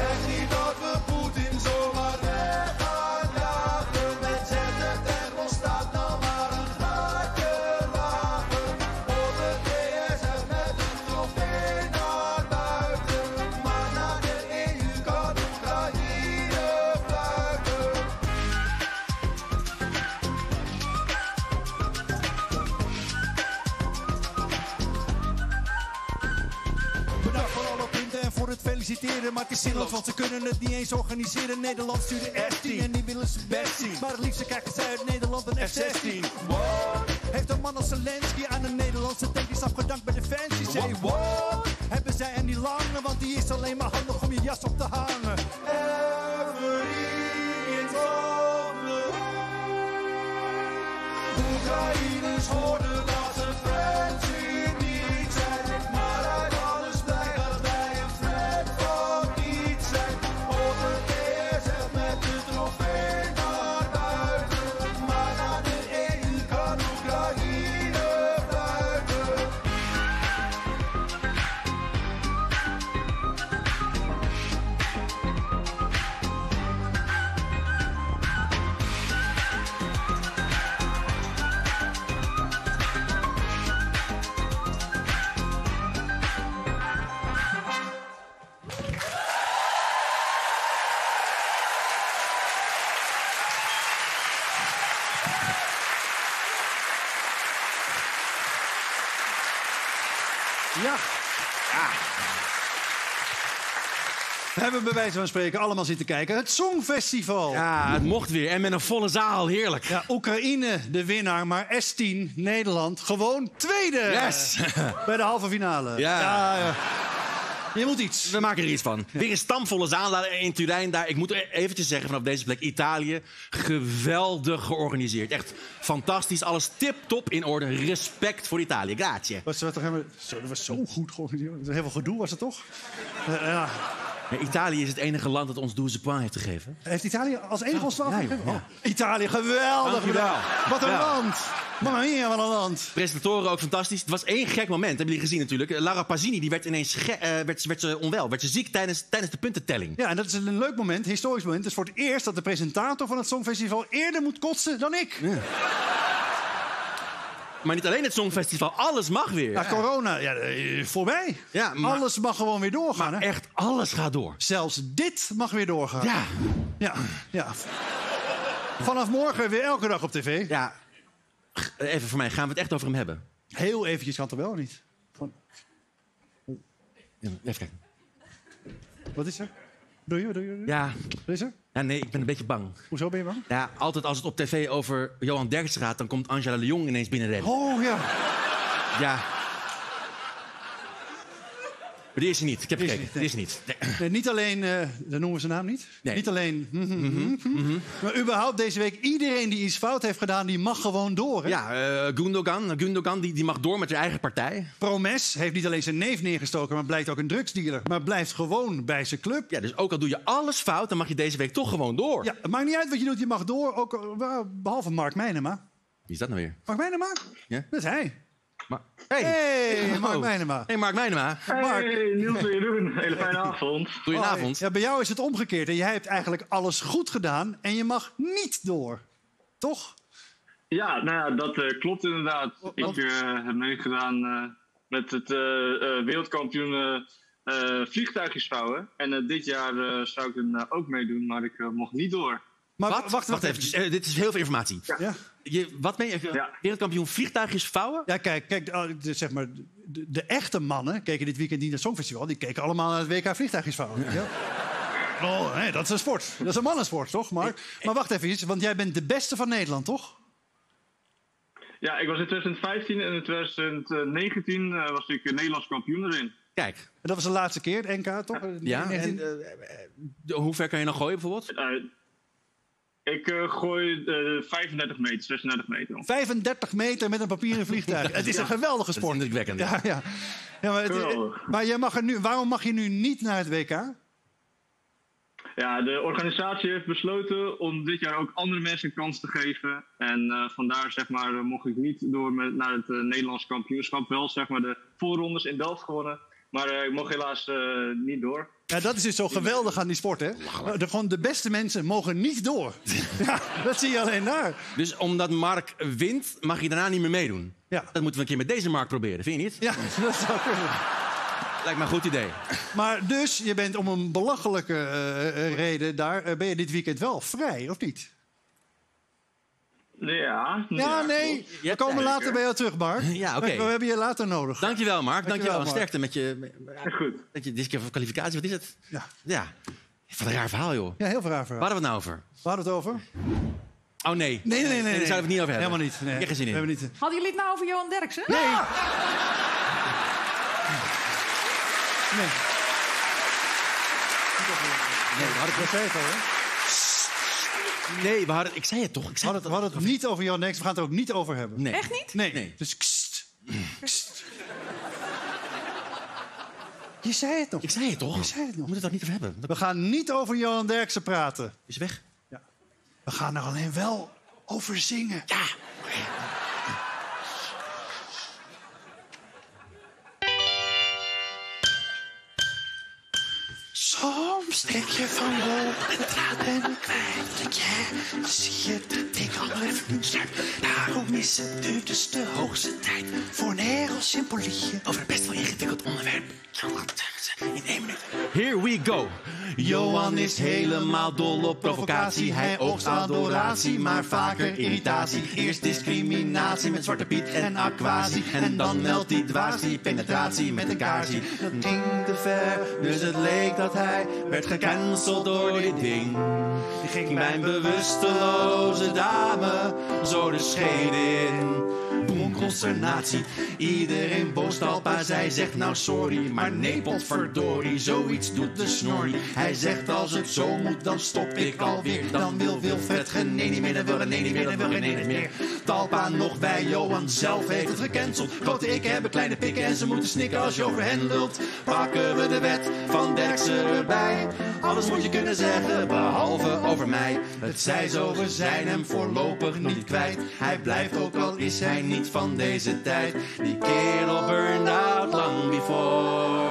[SPEAKER 7] Echt niet dat we Poetin zomaar weg gaan jagen. En zet de thermostaat nou maar een graadje lager. Op de DSF met een trofee naar buiten. Maar naar de EU kan Oekraïne fluiten.
[SPEAKER 9] Bedankt voor alle punten en voor het feliciteren. Maar het is zinloos, want ze kunnen het niet eens organiseren. Nederland stuurde F10 en die willen ze best zien. Maar het liefst krijgen zij uit Nederland een F16. What? Heeft een man als Zelensky aan een Nederlandse tank is afgedankt bij Defensie. Say what? Hebben zij en die lange, want die is alleen maar handig om je jas op te hangen.
[SPEAKER 7] Oekraïners hoorden dat ze Frenzy niet zijn. Maar uit alles blijkt dat wij een Fred van niet zijn. Over DSF met de trofee naar buiten. Maar naar de EU kan Oekraïne fluiten.
[SPEAKER 4] Ja. We hebben bij wijze van spreken allemaal zitten kijken. Het Songfestival. Ja.
[SPEAKER 5] Ja, het mocht weer. En met een volle zaal, heerlijk.
[SPEAKER 4] Oekraïne de winnaar, maar S10 Nederland gewoon tweede.
[SPEAKER 5] Yes!
[SPEAKER 4] Bij de halve finale.
[SPEAKER 5] Ja.
[SPEAKER 4] ja. Je moet iets.
[SPEAKER 5] We maken er iets van. Weer een stamvolle zaal daar in Turijn. Daar, ik moet e- eventjes zeggen, vanaf deze plek, Italië. Geweldig georganiseerd. Echt fantastisch. Alles tip-top in orde. Respect voor Italië. Grazie.
[SPEAKER 4] Was, wat, zo, dat was zo goed georganiseerd. Heel veel gedoe was het toch? Eh, ja.
[SPEAKER 5] Maar Italië is het enige land dat ons 12 points heeft gegeven.
[SPEAKER 4] Heeft Italië als enige ons 12
[SPEAKER 5] ja, joh,
[SPEAKER 4] gegeven?
[SPEAKER 5] ja.
[SPEAKER 4] Oh. Italië, geweldig
[SPEAKER 5] Dankjewel.
[SPEAKER 4] bedankt. Wat een
[SPEAKER 5] Ja.
[SPEAKER 4] land. Mamma mia, wat een land.
[SPEAKER 5] Presentatoren ook fantastisch. Het was één gek moment, hebben jullie gezien natuurlijk. Eh, Lara Pasini die werd ineens ge- eh, werd, werd ze onwel, werd ze ziek tijdens, tijdens de puntentelling.
[SPEAKER 4] Ja, en dat is een leuk moment, historisch moment. Het is voor het eerst dat de presentator van het Songfestival eerder moet kotsen dan ik. Ja,
[SPEAKER 5] Maar niet alleen het Songfestival, alles mag weer.
[SPEAKER 4] corona, ja, eh, voorbij.
[SPEAKER 5] Ja, maar-
[SPEAKER 4] Alles mag gewoon weer doorgaan. hè?
[SPEAKER 5] Echt, alles gaat door.
[SPEAKER 4] Zelfs dit mag weer doorgaan.
[SPEAKER 5] Ja,
[SPEAKER 4] ja. ja. Vanaf morgen weer elke dag op tv.
[SPEAKER 5] ja. G- Even voor mij, gaan we het echt over hem hebben?
[SPEAKER 4] Heel eventjes kan het er wel niet. Van-
[SPEAKER 5] Ja, Even kijken.
[SPEAKER 4] Wat is er? Doe je, doe je, doe je?
[SPEAKER 5] Ja.
[SPEAKER 4] Wat is er?
[SPEAKER 5] ja, nee, ik ben een beetje bang.
[SPEAKER 4] Hoezo ben je bang?
[SPEAKER 5] Ja, altijd als het op tv over Johan Derks gaat, dan komt Angela de Jong ineens binnenrennen.
[SPEAKER 4] Oh ja.
[SPEAKER 5] Ja. Maar die is er niet. Ik heb
[SPEAKER 4] Die is
[SPEAKER 5] gekeken. Die is er niet. Nee.
[SPEAKER 4] Nee, niet alleen, eh dan noemen we zijn naam niet.
[SPEAKER 5] Nee.
[SPEAKER 4] Niet alleen. mhm, mhm, mhm. Maar überhaupt deze week, iedereen die iets fout heeft gedaan, die mag gewoon door. Hè?
[SPEAKER 5] Ja, eh, Gundogan, Gundogan die, die mag door met zijn eigen partij.
[SPEAKER 4] Promes heeft niet alleen zijn neef neergestoken, maar blijkt ook een drugsdealer. Maar blijft gewoon bij zijn club.
[SPEAKER 5] Ja, dus ook al doe je alles fout, dan mag je deze week toch gewoon door.
[SPEAKER 4] Ja, het maakt niet uit wat je doet, je mag door. Ook, eh, wel, behalve Mark Meinema.
[SPEAKER 5] Wie is dat nou weer?
[SPEAKER 4] Mark Meinema?
[SPEAKER 5] Ja?
[SPEAKER 4] Dat is hij.
[SPEAKER 5] Maar, hey.
[SPEAKER 4] Hey,
[SPEAKER 5] Hallo.
[SPEAKER 4] Mark Meinema.
[SPEAKER 5] Hey, Mark Meijnema.
[SPEAKER 4] Mark.
[SPEAKER 10] Hey, Niels, hoe je doen? Hele fijne avond.
[SPEAKER 5] Goedenavond.
[SPEAKER 4] Ja, bij jou is het omgekeerd. En jij hebt eigenlijk alles goed gedaan en je mag niet door. Toch?
[SPEAKER 10] Ja, nou ja, dat eh, klopt inderdaad.
[SPEAKER 4] want-
[SPEAKER 10] Ik eh, heb meegedaan eh, met het eh, eh, wereldkampioen eh, eh, vliegtuigjes vouwen. En eh, dit jaar eh, zou ik hem eh, ook meedoen, maar ik eh, mocht niet door.
[SPEAKER 4] Maar
[SPEAKER 5] Wat? Wacht, wacht even. Eh, dit is heel veel informatie.
[SPEAKER 4] Ja.
[SPEAKER 5] Je, wat meen je? eh,
[SPEAKER 10] Ja.
[SPEAKER 5] Wereldkampioen vliegtuigjes vouwen?
[SPEAKER 4] Ja, kijk, kijk de, de- zeg maar, de, de echte mannen keken dit weekend niet naar het Songfestival. Die keken allemaal naar het WK vliegtuigjesvouwen. weet je wel? Oh, nee, dat is een sport. Dat is een mannensport, toch, Mark? Maar wacht even, want jij bent de beste van Nederland, toch?
[SPEAKER 10] Ja, ik was in 2015 en in 2019 eh, was ik eh, Nederlands kampioen erin.
[SPEAKER 5] Kijk.
[SPEAKER 4] En dat was de laatste keer, het NK, toch?
[SPEAKER 5] Ja, en
[SPEAKER 4] En-
[SPEAKER 5] eh, eh, hoe ver kan je nog gooien bijvoorbeeld?
[SPEAKER 10] Eh, Ik eh, gooi eh, 35 meter, 36 meter.
[SPEAKER 4] 35 meter met een papieren vliegtuig. Het is een geweldige sport.
[SPEAKER 5] Dat is indrukwekkend.
[SPEAKER 4] Ja, ja. ja maar, het,
[SPEAKER 10] Geweldig.
[SPEAKER 4] maar jij mag er nu, waarom mag je nu niet naar het WK?
[SPEAKER 10] Ja, de organisatie heeft besloten om dit jaar ook andere mensen een kans te geven. En eh, vandaar zeg maar, eh, mocht ik niet door met, naar het eh, Nederlands kampioenschap. Wel zeg maar, de voorrondes in Delft gewonnen. Maar eh, ik mocht helaas eh, niet door.
[SPEAKER 4] Ja, dat is dus zo geweldig aan die sport, hè? De, gewoon de beste mensen mogen niet door. ja, dat zie je alleen daar.
[SPEAKER 5] Dus omdat Mark wint, mag je daarna niet meer meedoen.
[SPEAKER 4] Ja.
[SPEAKER 5] Dat moeten we een keer met deze Mark proberen, vind je niet?
[SPEAKER 4] Ja, dat zou kunnen.
[SPEAKER 5] Lijkt me een goed idee.
[SPEAKER 4] Maar dus, je bent om een belachelijke eh, eh, reden daar... eh, ben je dit weekend wel vrij, of niet?
[SPEAKER 10] Ja,
[SPEAKER 4] Ja, nee.
[SPEAKER 10] klopt.
[SPEAKER 4] We komen later bij jou terug, Mark.
[SPEAKER 5] Ja, oké.
[SPEAKER 4] We hebben je later nodig.
[SPEAKER 5] Dankjewel, Mark. Dankjewel.
[SPEAKER 4] Mark.
[SPEAKER 5] Sterkte met je...
[SPEAKER 10] Is goed.
[SPEAKER 5] Dat je, dit keer voor kwalificatie, wat is het?
[SPEAKER 4] Ja.
[SPEAKER 5] Ja. Wat een raar verhaal, joh.
[SPEAKER 4] Ja, heel veel raar verhaal.
[SPEAKER 5] Waar hadden we het nou over?
[SPEAKER 4] Waar hadden we het over?
[SPEAKER 5] Oh, nee.
[SPEAKER 4] Nee, nee, nee. nee,
[SPEAKER 5] daar zouden we het niet over hebben.
[SPEAKER 4] Helemaal niet. Nee.
[SPEAKER 5] Ik heb geen zin in.
[SPEAKER 4] We hebben niet...
[SPEAKER 11] Hadden jullie het nou over Johan Derksen? Ah!
[SPEAKER 4] Nee.
[SPEAKER 5] Nee, we hadden,
[SPEAKER 4] Dat
[SPEAKER 5] het-
[SPEAKER 4] zei ik al, hè?
[SPEAKER 5] nee, we hadden... Ik zei het toch? Ik
[SPEAKER 4] We
[SPEAKER 5] zei
[SPEAKER 4] hadden, het, we hadden het niet over Jan Nex. We gaan het er ook niet over hebben.
[SPEAKER 5] Nee.
[SPEAKER 11] Echt niet?
[SPEAKER 4] Nee.
[SPEAKER 5] Nee.
[SPEAKER 4] Dus kst. Kst. Je zei het nog.
[SPEAKER 5] Ik zei het toch?
[SPEAKER 4] Je zei het nog.
[SPEAKER 5] We moeten het daar niet over hebben. Dat
[SPEAKER 4] We gaan niet over Johan Derksen praten.
[SPEAKER 5] is weg.
[SPEAKER 4] We gaan er alleen wel over zingen.
[SPEAKER 5] Ja.
[SPEAKER 9] Soms denk je van wow, het raad ben ik kwijt dat jij, dan zie je dat ik al even niet sluit. Daarom is het nu dus de hoogste tijd voor een heel simpel liedje over een best wel ingewikkeld onderwerp. Johan Derksen in één minuut.
[SPEAKER 5] Here we go. Johan is helemaal dol op provocatie. Hij oogst adoratie, maar vaker irritatie. Eerst discriminatie met Zwarte Piet en aquatie. En dan meldt hij dwaas die penetratie met een kaarsie. Dat ding te ver, dus het leek dat hij werd gecanceld door dit ding. Ging mijn bewusteloze dame zo de scheet in. Boem, consternatie, iedereen boos al, maar zij zegt nou sorry. Maar nee, potverdorie, zoiets doet de snorrie. Hij zegt als het zo moet, dan stop ik alweer. Dan wil Wilfred Gené niet meer, dan wil René niet meer, dan wil René niet meer. Talpa nog bij Johan zelf heeft het gecanceld. Grote ik hebben kleine pikken en ze moeten snikken als je over hen lult. Pakken we de wet van Derksen erbij. Alles moet je kunnen zeggen, behalve over mij. Het zij zo, we zijn hem voorlopig niet kwijt. Hij blijft ook al is hij niet van deze tijd. Die kerel burned out lang before.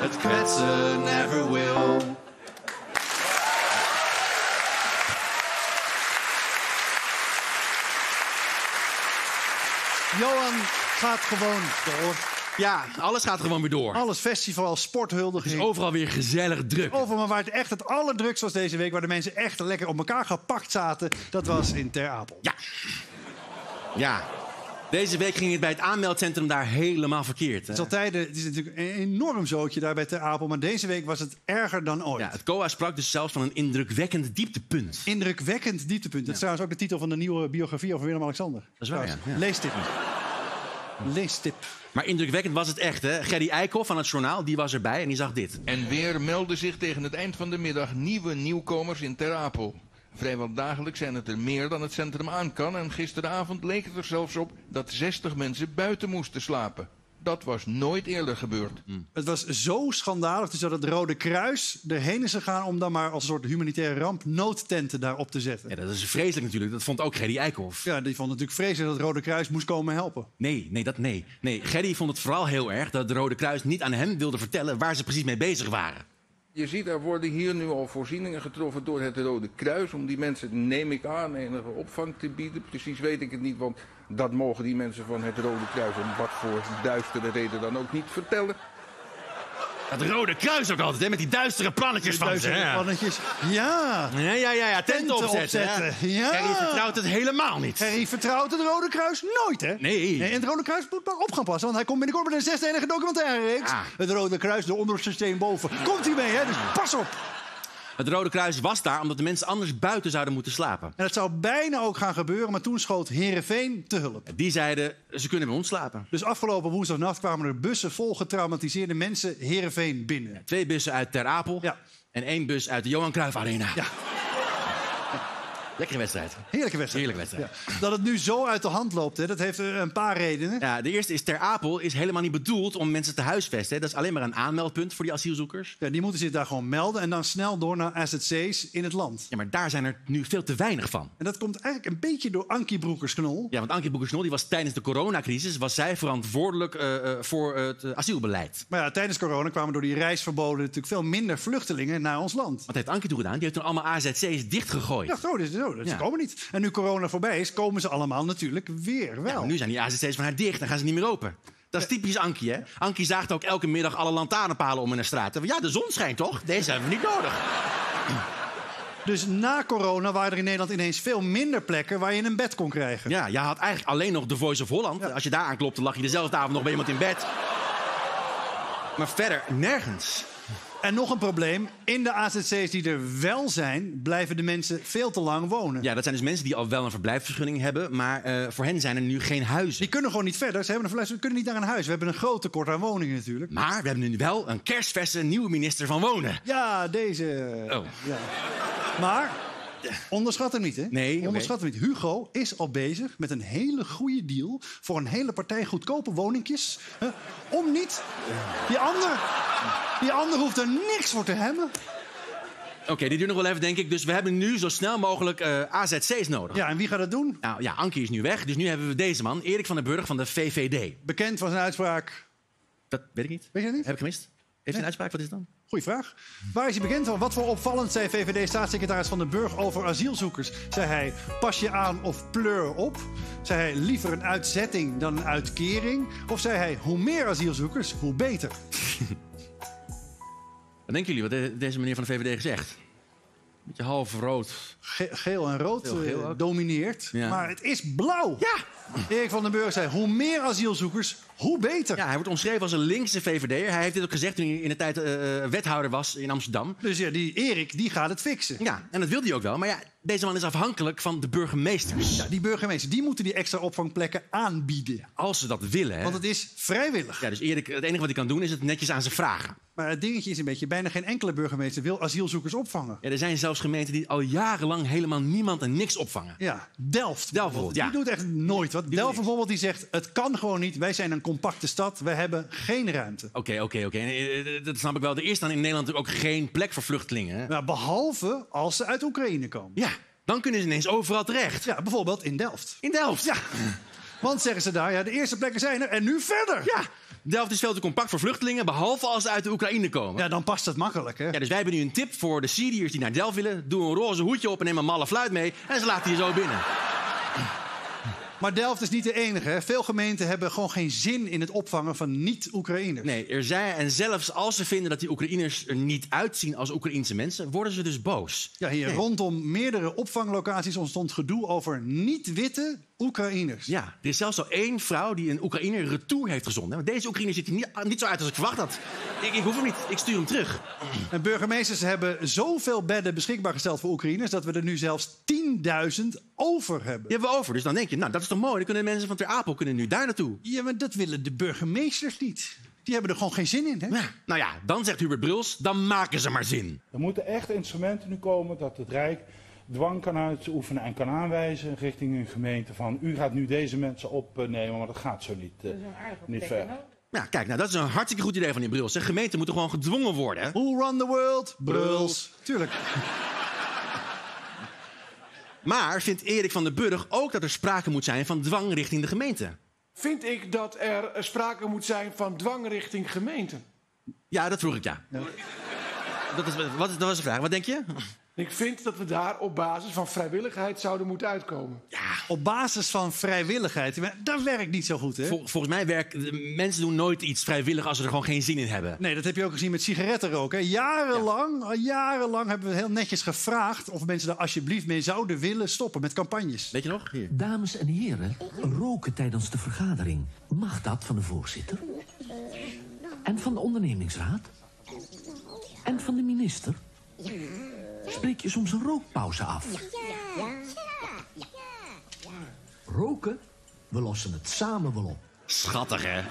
[SPEAKER 5] Het kwetsen never will.
[SPEAKER 4] Johan gaat gewoon door.
[SPEAKER 5] Ja, alles gaat gewoon weer door.
[SPEAKER 4] Alles festival, sporthuldiging.
[SPEAKER 5] Overal weer gezellig druk.
[SPEAKER 4] Over, maar waar het echt het allerdrukst was deze week... waar de mensen echt lekker op elkaar gepakt zaten... dat was in Ter Apel.
[SPEAKER 5] Ja. Ja. Deze week ging het bij het aanmeldcentrum daar helemaal verkeerd. hè?
[SPEAKER 4] Het is, altijd, eh, het is natuurlijk een enorm zootje daar bij Ter Apel... maar deze week was het erger dan ooit.
[SPEAKER 5] Ja, het COA sprak dus zelfs van een indrukwekkend dieptepunt.
[SPEAKER 4] Indrukwekkend dieptepunt. Dat is trouwens ook de titel van de nieuwe biografie over Willem-Alexander.
[SPEAKER 5] Dat is waar,
[SPEAKER 4] Trouwens,
[SPEAKER 5] ja, ja.
[SPEAKER 4] Leestip. Leestip.
[SPEAKER 5] Maar indrukwekkend was het echt, hè? Gerry Eikhoff van het journaal, die was erbij en die zag dit.
[SPEAKER 12] En weer melden zich tegen het eind van de middag nieuwe nieuwkomers in Ter Apel. Vrijwel dagelijks zijn het er meer dan het centrum aan kan en gisteravond leek het er zelfs op dat 60 mensen buiten moesten slapen. Dat was nooit eerder gebeurd.
[SPEAKER 4] Het was zo schandalig dus dat het Rode Kruis erheen is gegaan... om dan maar als een soort humanitaire ramp noodtenten daarop te zetten.
[SPEAKER 5] Ja, dat is vreselijk natuurlijk, dat vond ook Gerry Eikhoff.
[SPEAKER 4] Ja, die vond het natuurlijk vreselijk dat het Rode Kruis moest komen helpen.
[SPEAKER 5] Nee, nee, dat nee. Nee, Gerry vond het vooral heel erg dat de Rode Kruis niet aan hem wilde vertellen waar ze precies mee bezig waren.
[SPEAKER 12] Je ziet, er worden hier nu al voorzieningen getroffen door het Rode Kruis om die mensen, neem ik aan, enige opvang te bieden. Precies weet ik het niet, want dat mogen die mensen van het Rode Kruis om wat voor duistere reden dan ook niet vertellen.
[SPEAKER 5] Dat Rode Kruis ook altijd, hè? Met die duistere plannetjes van ze.
[SPEAKER 4] Duizenden
[SPEAKER 5] hè?
[SPEAKER 4] pannetjes. Ja.
[SPEAKER 5] Ja, ja, ja, ja, tenten
[SPEAKER 4] Tenten
[SPEAKER 5] opzetten. hè?
[SPEAKER 4] opzetten, ja.
[SPEAKER 5] Gerry vertrouwt het helemaal niet.
[SPEAKER 4] Harry vertrouwt het Rode Kruis nooit, hè?
[SPEAKER 5] Nee.
[SPEAKER 4] En het Rode Kruis moet maar op gaan passen, want hij komt binnenkort met een zesdelige documentaire reeks.
[SPEAKER 5] Ja.
[SPEAKER 4] Het Rode Kruis, de onderste steen boven. Komt hij mee, hè? Dus pas op.
[SPEAKER 5] Het Rode Kruis was daar omdat de mensen anders buiten zouden moeten slapen.
[SPEAKER 4] En dat zou bijna ook gaan gebeuren, maar toen schoot Herenveen te hulp.
[SPEAKER 5] Die zeiden, ze kunnen bij ons slapen.
[SPEAKER 4] Dus afgelopen woensdagnacht kwamen er bussen vol getraumatiseerde mensen Herenveen binnen.
[SPEAKER 5] Twee bussen uit Ter Apel
[SPEAKER 4] Ja.
[SPEAKER 5] en één bus uit de Johan Cruijff Arena.
[SPEAKER 4] Ja.
[SPEAKER 5] Lekkere wedstrijd.
[SPEAKER 4] Heerlijke wedstrijd.
[SPEAKER 5] Heerlijke wedstrijd.
[SPEAKER 4] Dat het nu zo uit de hand loopt, hè, dat heeft eh, een paar redenen.
[SPEAKER 5] Ja, de eerste is Ter Apel is helemaal niet bedoeld om mensen te huisvesten. hè. Dat is alleen maar een aanmeldpunt voor die asielzoekers.
[SPEAKER 4] Ja, die moeten zich daar gewoon melden en dan snel door naar AZC's in het land.
[SPEAKER 5] Ja, maar daar zijn er nu veel te weinig van.
[SPEAKER 4] En dat komt eigenlijk een beetje door Ankie Broekersknol.
[SPEAKER 5] Ja, want Ankie Boekersnol die was tijdens de coronacrisis was zij verantwoordelijk eh, eh, voor het eh, asielbeleid.
[SPEAKER 4] Maar ja, tijdens corona kwamen door die reisverboden natuurlijk veel minder vluchtelingen naar ons land.
[SPEAKER 5] Wat heeft Ankie toen gedaan? Die heeft toen allemaal AZC's dichtgegooid.
[SPEAKER 4] Ja, zo, dus, zo, dus
[SPEAKER 5] Ja.
[SPEAKER 4] ze komen niet. En nu corona voorbij is, komen ze allemaal natuurlijk weer wel.
[SPEAKER 5] Maar nu zijn die AZC's van haar dicht, dan gaan ze niet meer open. Dat is typisch Ankie, hè? Ankie zaagt ook elke middag alle lantaarnpalen om in de straat. En van, Ja, de zon schijnt toch? Deze hebben we niet nodig.
[SPEAKER 4] Dus na corona waren er in Nederland ineens veel minder plekken waar je een bed kon krijgen.
[SPEAKER 5] Ja, je had eigenlijk alleen nog The Voice of Holland. Als je daar aanklopte, lag je dezelfde avond nog bij iemand in bed. Maar verder, nergens.
[SPEAKER 4] En nog een probleem, in de AZC's die er wel zijn, blijven de mensen veel te lang wonen.
[SPEAKER 5] Ja, dat zijn dus mensen die al wel een verblijfsvergunning hebben, maar eh, voor hen zijn er nu geen huizen.
[SPEAKER 4] Die kunnen gewoon niet verder. Ze hebben een verluistering, kunnen niet naar een huis. We hebben een groot tekort aan woningen natuurlijk.
[SPEAKER 5] Maar we hebben nu wel een kerstverse nieuwe minister van Wonen.
[SPEAKER 4] Ja, deze.
[SPEAKER 5] Oh.
[SPEAKER 4] Ja. Maar onderschat hem niet, hè?
[SPEAKER 5] Nee, oké.
[SPEAKER 4] Onderschat hem niet. Hugo is al bezig met een hele goede deal voor een hele partij goedkope woningjes. hè, Om niet. Die ander, die ander hoeft er niks voor te hebben.
[SPEAKER 5] Oké, die duurt nog wel even, denk ik. Dus we hebben nu zo snel mogelijk eh, AZC's nodig.
[SPEAKER 4] Ja, en wie gaat dat doen?
[SPEAKER 5] Nou ja, Ankie is nu weg, dus nu hebben we deze man, Erik van den Burg van de VVD.
[SPEAKER 4] Bekend van zijn uitspraak.
[SPEAKER 5] Dat weet ik niet.
[SPEAKER 4] Weet je dat niet?
[SPEAKER 5] Heb ik gemist? Heeft hij een uitspraak? Wat is het dan?
[SPEAKER 4] Goeie vraag. Waar is hij bekend van? Wat voor opvallend zei VVD-staatssecretaris Van den Burg over asielzoekers? Zei hij, pas je aan of pleur op? Zei hij, liever een uitzetting dan een uitkering? Of zei hij, hoe meer asielzoekers, hoe beter?
[SPEAKER 5] Wat denken jullie wat de- deze meneer van de VVD gezegd? Beetje half rood.
[SPEAKER 4] Ge- geel en rood
[SPEAKER 5] Heel geel
[SPEAKER 4] eh,
[SPEAKER 5] ook.
[SPEAKER 4] domineert,
[SPEAKER 5] Ja.
[SPEAKER 4] maar het is blauw.
[SPEAKER 5] Ja!
[SPEAKER 4] Erik van den Burg zei, hoe meer asielzoekers, hoe beter.
[SPEAKER 5] Ja, hij wordt omschreven als een linkse VVD'er. Hij heeft dit ook gezegd toen hij in de tijd eh, eh, wethouder was in Amsterdam.
[SPEAKER 4] Dus ja, die Erik, die gaat het fixen.
[SPEAKER 5] Ja, en dat wilde hij ook wel. Maar ja, deze man is afhankelijk van de burgemeesters.
[SPEAKER 4] Ja, die burgemeester, die moeten die extra opvangplekken aanbieden.
[SPEAKER 5] Als ze dat willen, hè.
[SPEAKER 4] Want het is vrijwillig.
[SPEAKER 5] Ja, dus Erik, het enige wat hij kan doen is het netjes aan ze vragen.
[SPEAKER 4] Maar het dingetje is een beetje, bijna geen enkele burgemeester wil asielzoekers opvangen.
[SPEAKER 5] Ja, er zijn zelfs gemeenten die al jarenlang helemaal niemand en niks opvangen.
[SPEAKER 4] Ja, Delft.
[SPEAKER 5] bijvoorbeeld,
[SPEAKER 4] Die
[SPEAKER 5] ja.
[SPEAKER 4] doet echt nooit wat. Delft bijvoorbeeld die zegt, het kan gewoon niet. Wij zijn een compacte stad. We hebben geen ruimte.
[SPEAKER 5] Oké, oké, oké. En, eh, eh, Dat snap ik wel. Er is dan in Nederland natuurlijk ook geen plek voor vluchtelingen. hè?
[SPEAKER 4] Nou, behalve als ze uit Oekraïne komen.
[SPEAKER 5] Ja, dan kunnen ze ineens overal terecht.
[SPEAKER 4] Ja, bijvoorbeeld in Delft.
[SPEAKER 5] In Delft. Ja.
[SPEAKER 4] Want zeggen ze daar, ja, de eerste plekken zijn er en nu verder.
[SPEAKER 5] ja. Delft is veel te compact voor vluchtelingen, behalve als ze uit de Oekraïne komen. Ja.
[SPEAKER 4] Ja, dan past dat makkelijk, hè?
[SPEAKER 5] dus wij hebben nu een tip voor de Syriërs die naar Delft willen. Doe een roze hoedje op en neem een malle fluit mee. En ze laten je zo binnen.
[SPEAKER 4] Maar Delft is niet de enige. Hè? Veel gemeenten hebben gewoon geen zin in het opvangen van niet-Oekraïners.
[SPEAKER 5] Nee, er zijn, en zelfs als ze vinden dat die Oekraïners er niet uitzien als Oekraïense mensen, worden ze dus boos.
[SPEAKER 4] Ja, hier rondom meerdere opvanglocaties ontstond gedoe over niet-witte Oekraïners.
[SPEAKER 5] Ja, er is zelfs al één vrouw die een Oekraïner retour heeft gezonden. Want deze Oekraïner ziet er niet, ah, niet zo uit als ik verwacht had. Ik, ik hoef hem niet, ik stuur hem terug.
[SPEAKER 4] En burgemeesters hebben zoveel bedden beschikbaar gesteld voor Oekraïners... dat we er nu zelfs 10.000 over hebben.
[SPEAKER 5] Die hebben we over. Dus dan denk je, nou, dat is toch mooi. Dan kunnen mensen van Ter Apel kunnen nu daar naartoe.
[SPEAKER 4] Ja, maar dat willen de burgemeesters niet. Die hebben er gewoon geen zin in, hè?
[SPEAKER 5] Ja, Nou ja, dan zegt Hubert Bruls, dan maken ze maar zin.
[SPEAKER 11] Er moeten echt instrumenten nu komen dat het Rijk dwang kan uitoefenen en kan aanwijzen richting een gemeente van u gaat nu deze mensen opnemen, maar dat gaat zo niet, eh, niet verder.
[SPEAKER 5] Ja, kijk, nou, dat is een hartstikke goed idee van die Bruls. De gemeenten moeten gewoon gedwongen worden. hè.
[SPEAKER 4] Who run the world?
[SPEAKER 5] Bruls.
[SPEAKER 4] Bruls. Tuurlijk.
[SPEAKER 5] Maar vindt Erik van den Burg ook dat er sprake moet zijn van dwang richting de gemeente?
[SPEAKER 13] Vind ik dat er eh, sprake moet zijn van dwang richting gemeenten.
[SPEAKER 5] Ja, dat vroeg ik, ja. Dat, is, wat, dat was de vraag. Wat denk je?
[SPEAKER 13] Ik vind dat we daar op basis van vrijwilligheid zouden moeten uitkomen.
[SPEAKER 4] Op basis van vrijwilligheid. Maar Dat werkt niet zo goed, hè?
[SPEAKER 5] Vol- volgens mij werken mensen doen nooit iets vrijwillig als ze er gewoon geen zin in hebben.
[SPEAKER 4] Nee, dat heb je ook gezien met sigarettenroken. hè. Jarenlang, al jarenlang hebben we heel netjes gevraagd... of mensen daar alsjeblieft mee zouden willen stoppen met campagnes.
[SPEAKER 5] Weet je nog? Hier.
[SPEAKER 14] Dames en heren, roken tijdens de vergadering. Mag dat van de voorzitter? En van de ondernemingsraad? En van de minister? Spreek je soms een rookpauze af? Roken? We lossen het samen wel op.
[SPEAKER 5] Schattig, hè?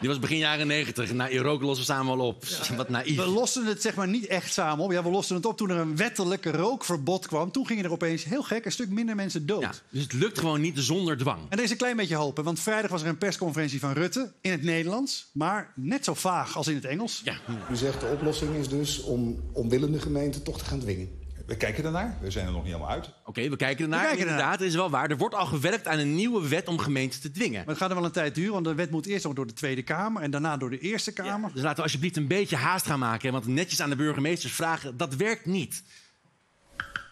[SPEAKER 5] Die was begin jaren 90. Na Irok lossen we samen wel op. Wat naïef.
[SPEAKER 4] We losten het zeg maar niet echt samen op. Ja, we losten het op toen er een wettelijk rookverbod kwam. Toen gingen er opeens, heel gek, een stuk minder mensen dood.
[SPEAKER 5] Dus het lukt gewoon niet zonder dwang.
[SPEAKER 4] En er is een klein beetje hoop, hè, want vrijdag was er een persconferentie van Rutte in het Nederlands, maar net zo vaag als in het Engels.
[SPEAKER 5] Ja.
[SPEAKER 15] U zegt de oplossing is dus om omwillende gemeenten toch te gaan dwingen.
[SPEAKER 2] We kijken ernaar. We zijn er nog niet helemaal uit.
[SPEAKER 5] Oké, we kijken ernaar.
[SPEAKER 4] We kijken ernaar.
[SPEAKER 5] Inderdaad, het is wel waar. Er wordt al gewerkt aan een nieuwe wet om gemeenten te dwingen.
[SPEAKER 4] Maar het gaat er wel een tijd duren, want de wet moet eerst nog door de Tweede Kamer en daarna door de Eerste Kamer.
[SPEAKER 5] Dus laten we alsjeblieft een beetje haast gaan maken. hè, Want netjes aan de burgemeesters vragen, dat werkt niet.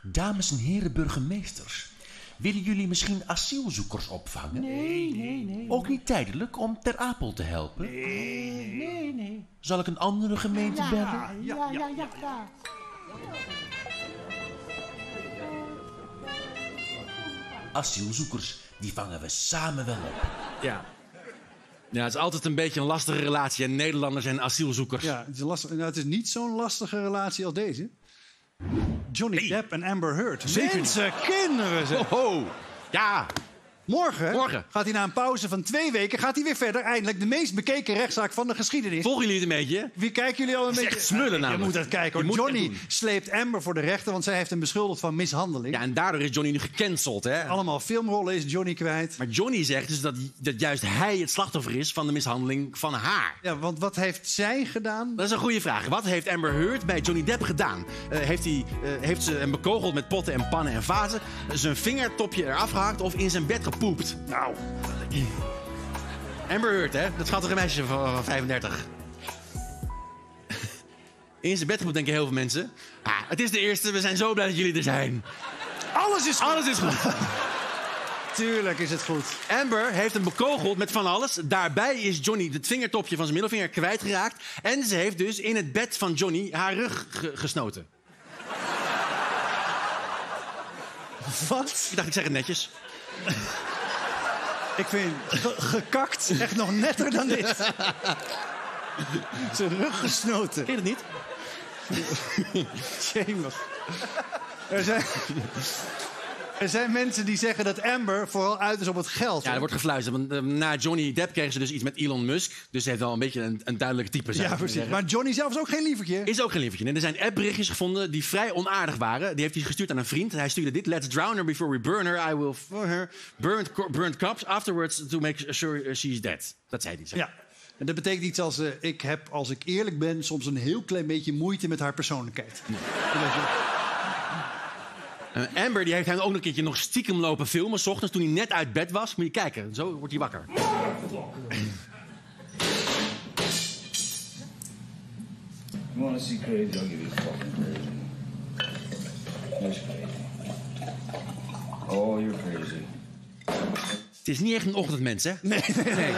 [SPEAKER 16] Dames en heren burgemeesters, willen jullie misschien asielzoekers opvangen?
[SPEAKER 6] Nee, nee, nee.
[SPEAKER 16] Ook niet tijdelijk om Ter Apel te helpen?
[SPEAKER 6] Nee, nee.
[SPEAKER 16] Zal ik een andere gemeente
[SPEAKER 6] Ja, ja,
[SPEAKER 16] bellen?
[SPEAKER 6] ja, ja.
[SPEAKER 16] Asielzoekers, die vangen we samen wel op.
[SPEAKER 5] Ja. Ja, het is altijd een beetje een lastige relatie. En Nederlanders en asielzoekers.
[SPEAKER 4] Ja, het is, lastig, nou, het is niet zo'n lastige relatie als deze. Johnny Depp en Amber Heard.
[SPEAKER 5] Zeker niet.
[SPEAKER 4] Mensen, kinderen ze.
[SPEAKER 5] Ja.
[SPEAKER 4] Morgen,
[SPEAKER 5] Morgen.
[SPEAKER 4] gaat hij na een pauze van twee weken gaat hij weer verder. Eindelijk de meest bekeken rechtszaak van de geschiedenis.
[SPEAKER 5] Volgen jullie het een beetje?
[SPEAKER 4] Wie kijken jullie al een
[SPEAKER 5] Het is
[SPEAKER 4] beetje?
[SPEAKER 5] echt smullen
[SPEAKER 4] Je
[SPEAKER 5] namelijk.
[SPEAKER 4] moet dat kijken.
[SPEAKER 5] Je
[SPEAKER 4] Hoor.
[SPEAKER 5] moet het
[SPEAKER 4] Johnny
[SPEAKER 5] echt doen.
[SPEAKER 4] sleept Amber voor de rechter, want zij heeft hem beschuldigd van mishandeling.
[SPEAKER 5] Ja, en daardoor is Johnny nu gecanceld, hè?
[SPEAKER 4] Allemaal filmrollen is Johnny kwijt.
[SPEAKER 5] Maar Johnny zegt dus dat, dat juist hij het slachtoffer is van de mishandeling van haar.
[SPEAKER 4] Ja, want wat heeft zij gedaan?
[SPEAKER 5] Dat is een goede vraag. Wat heeft Amber Heard bij Johnny Depp gedaan? Eh, heeft, hij, eh, heeft ze hem bekogeld met potten en pannen en vazen? Zijn vingertopje eraf gehakt of in zijn bed gepoept? Nou. Amber Heard, hè? Dat schattige meisje van van 35. In zijn bed gepoept, denken heel veel mensen. Ah, het is de eerste. We zijn zo blij dat jullie er zijn.
[SPEAKER 4] Alles is goed.
[SPEAKER 5] Alles is goed.
[SPEAKER 4] Tuurlijk is het goed.
[SPEAKER 5] Amber heeft hem bekogeld met van alles. Daarbij is Johnny het vingertopje van zijn middelvinger kwijtgeraakt. En ze heeft dus in het bed van Johnny haar rug ge- gesnoten.
[SPEAKER 4] Wat?
[SPEAKER 5] Ik dacht, ik zeg het netjes.
[SPEAKER 4] Ik vind ge- gekakt echt nog netter dan dit. Zijn rug gesnoten.
[SPEAKER 5] Ken je dat niet?
[SPEAKER 4] Jemig. Er zijn, er zijn mensen die zeggen dat Amber vooral uit is op het geld.
[SPEAKER 5] Ja, er wordt gefluisterd. Want eh, na Johnny Depp kregen ze dus iets met Elon Musk. Dus ze heeft wel een beetje een, een duidelijk type. zou
[SPEAKER 4] Ja,
[SPEAKER 5] je kunnen
[SPEAKER 4] precies.
[SPEAKER 5] zeggen.
[SPEAKER 4] Maar Johnny zelf is ook geen lievertje.
[SPEAKER 5] Is ook geen lievertje. En er zijn appberichtjes gevonden die vrij onaardig waren. Die heeft hij gestuurd aan een vriend. Hij stuurde dit. Let's drown her before we burn her. I will for her. Burnt, co- burnt cups afterwards to make sure she's dead. Dat zei hij. zeg.
[SPEAKER 4] Ja. En dat betekent iets als... eh, ik heb, als ik eerlijk ben, soms een heel klein beetje moeite met haar persoonlijkheid. Dan denk je,
[SPEAKER 5] Eh, Amber die heeft hem ook nog een keertje nog stiekem lopen filmen. 's ochtends toen hij net uit bed was. Moet je kijken. Zo wordt hij wakker.
[SPEAKER 17] You want to see crazy? I'll give you fucking crazy. That's crazy. Oh, you're crazy.
[SPEAKER 5] Het is niet echt een ochtendmens, hè? Nee,
[SPEAKER 4] nee, nee.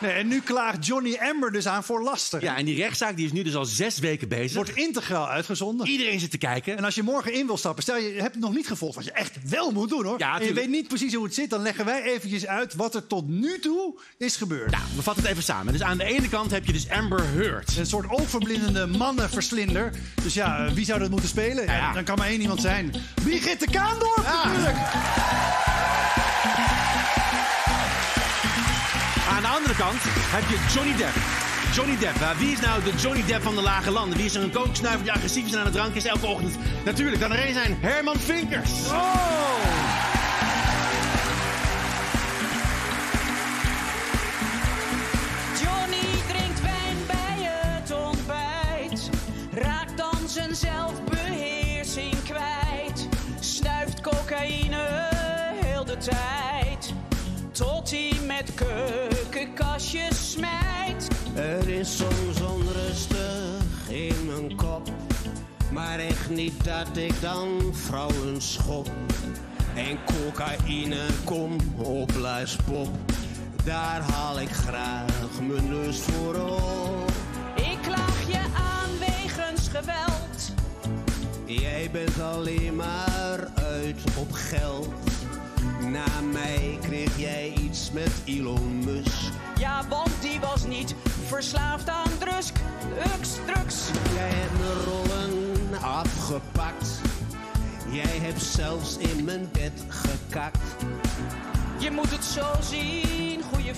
[SPEAKER 4] Nee, en nu klaagt Johnny Amber dus aan voor laster.
[SPEAKER 5] Ja, en die rechtszaak die is nu dus al zes weken bezig.
[SPEAKER 4] Wordt integraal uitgezonden.
[SPEAKER 5] Iedereen zit te kijken. Nou,
[SPEAKER 4] En als je morgen in wil stappen, stel je hebt het nog niet gevolgd wat je echt wel moet doen hoor. en je
[SPEAKER 5] tuurlijk.
[SPEAKER 4] weet niet precies hoe het zit, dan leggen wij eventjes uit wat er tot nu toe is gebeurd.
[SPEAKER 5] We vatten het even samen. Dus aan de ene kant heb je dus Amber Heard.
[SPEAKER 4] Een soort oogverblindende mannenverslinder. Dus ja, eh, wie zou dat moeten spelen? Ja, Dan kan maar één iemand zijn. Brigitte de Kaandorp natuurlijk!
[SPEAKER 5] Aan de andere kant heb je Johnny Depp. Johnny Depp, hè? wie is nou de Johnny Depp van de lage landen? Wie is een kooksnuiver die agressief is en aan het drank is elke ochtend? Natuurlijk, kan er één zijn. Herman Vinkers.
[SPEAKER 18] Johnny drinkt wijn bij het ontbijt. Raakt dan zijn zelfbeheersing kwijt. Snuift cocaïne heel de tijd. Tot hij met keukenkastjes smijt.
[SPEAKER 19] Er is soms onrustig in mijn kop. Maar echt niet dat ik dan vrouwen schop. En cocaïne, kom op, pop. Daar haal ik graag mijn lust voor op.
[SPEAKER 18] Ik klaag je aan wegens geweld.
[SPEAKER 19] Jij bent alleen maar uit op geld. Na mij kreeg jij iets met Elon Musk.
[SPEAKER 18] Ja, want die was niet verslaafd aan drugs. Drugs, drugs.
[SPEAKER 19] Jij hebt mijn rollen afgepakt. Jij hebt zelfs in mijn bed gekakt.
[SPEAKER 18] Je moet het zo zien, goede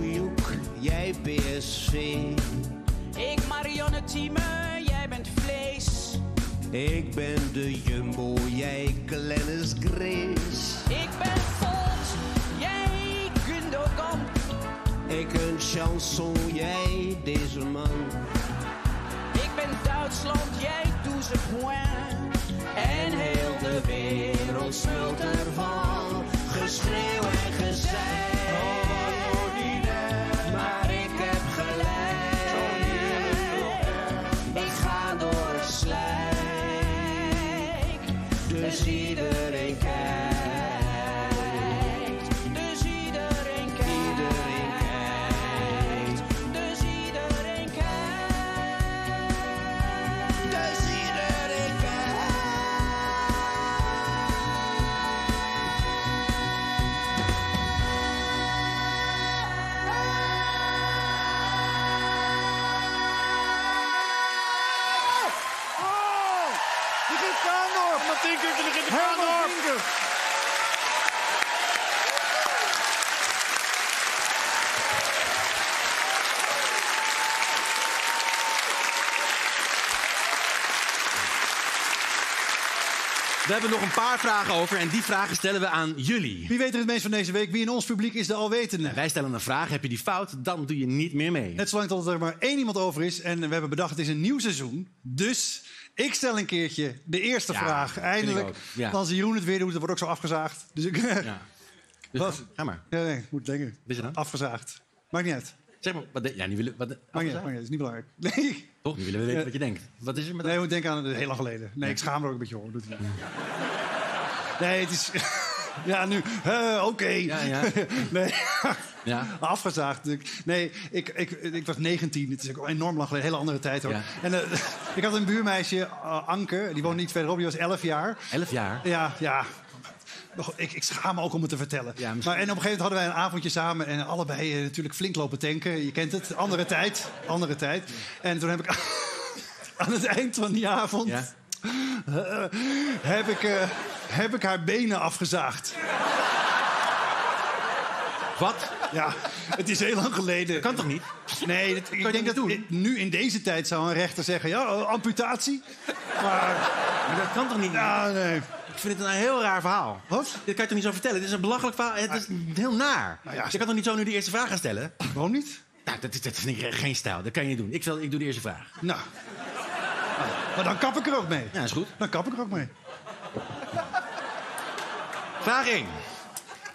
[SPEAKER 19] eh, jij PSV.
[SPEAKER 18] Ik Marianne Thieme, jij bent vlees.
[SPEAKER 19] Ik ben de Jumbo, jij Glennis Grace.
[SPEAKER 18] Ik ben Volt, jij Gundogan.
[SPEAKER 19] Ik een chanson, jij deze man.
[SPEAKER 18] Ik ben Duitsland, jij Douze Point.
[SPEAKER 19] En heel de wereld smult ervan. Geschreeuw en gezei. Maar ik heb gelijk. Ik ga door het slijk. Dus iedereen kijkt.
[SPEAKER 18] Dus iedereen kijkt. Dus iedereen kijkt.
[SPEAKER 19] Dus iedereen
[SPEAKER 9] Oh! Brigitte Kaandorp! Martien Kukker, Brigitte Kaandorp!
[SPEAKER 5] We hebben nog een paar vragen over en die vragen stellen we aan jullie.
[SPEAKER 4] Wie weet er het meest van deze week? Wie in ons publiek is de alwetende?
[SPEAKER 5] Wij stellen een vraag, heb je die fout, dan doe je niet meer mee.
[SPEAKER 4] Net zolang tot er maar één iemand over is. En we hebben bedacht, het is een nieuw seizoen. Dus ik stel een keertje de eerste
[SPEAKER 5] Ja,
[SPEAKER 4] vraag.
[SPEAKER 5] vind
[SPEAKER 4] Eindelijk.
[SPEAKER 5] ik ook, ja.
[SPEAKER 4] Dan zie Jeroen het weer doen. Dat wordt ook zo afgezaagd. Dus ik...
[SPEAKER 5] Ja. Dus
[SPEAKER 4] Wat?
[SPEAKER 5] Ga maar.
[SPEAKER 4] Ja, nee, ik moet denken.
[SPEAKER 5] Wist je dat?
[SPEAKER 4] Afgezaagd. Maakt niet uit.
[SPEAKER 5] Zeg maar, wat de- ja, nu willen wat de-
[SPEAKER 4] Maakt niet uit. Maakt niet uit. Dat is niet belangrijk. Nee.
[SPEAKER 5] Toch, nu willen we weten wat je denkt. Wat is er met
[SPEAKER 4] Nee, we denken aan het heel lang geleden. Nee, ik schaam me er ook een beetje over. Doet hij niet. Nee, het is... Ja, nu... eh, Oké.
[SPEAKER 5] ja.
[SPEAKER 4] nee.
[SPEAKER 5] Ja.
[SPEAKER 4] Afgezaagd. Ik- Nee, ik, ik, ik was 19. Het is ook enorm lang geleden. Hele andere tijd hoor.
[SPEAKER 5] Ja.
[SPEAKER 4] En eh, ik had een buurmeisje, eh, Anke. Die woonde niet verderop. Die was 11 jaar.
[SPEAKER 5] 11 jaar?
[SPEAKER 4] Ja, ja. Nog- Ik, ik schaam me ook om het te vertellen. maar, en op een gegeven moment hadden wij een avondje samen en allebei eh, natuurlijk flink lopen tanken. Je kent het. Andere tijd. Andere tijd. En toen heb ik aan het eind van die avond eh, heb, ik, eh, heb ik haar benen afgezaagd.
[SPEAKER 5] Wat?
[SPEAKER 4] Ja, het is heel lang geleden. Dat
[SPEAKER 5] kan toch niet?
[SPEAKER 4] Nee, dat- ik denk dat nu in deze tijd zou een rechter zeggen... ja, eh, amputatie. Maar,
[SPEAKER 5] dat kan toch niet?
[SPEAKER 4] Ja, nee.
[SPEAKER 5] Ik vind het een heel raar verhaal.
[SPEAKER 4] Wat?
[SPEAKER 5] Dit kan je toch niet zo vertellen? Dit is een belachelijk verhaal. Het is heel naar. je kan toch niet zo nu de eerste vraag gaan stellen?
[SPEAKER 4] Waarom niet?
[SPEAKER 5] Nou, dat, is- dat vind ik geen stijl. Dat kan je niet doen. Ik, wil, ik doe de eerste vraag.
[SPEAKER 4] Nou. Ah, Maar dan kap ik er ook mee.
[SPEAKER 5] Ja, is goed.
[SPEAKER 4] Dan kap ik er ook mee.
[SPEAKER 5] Vraag 1.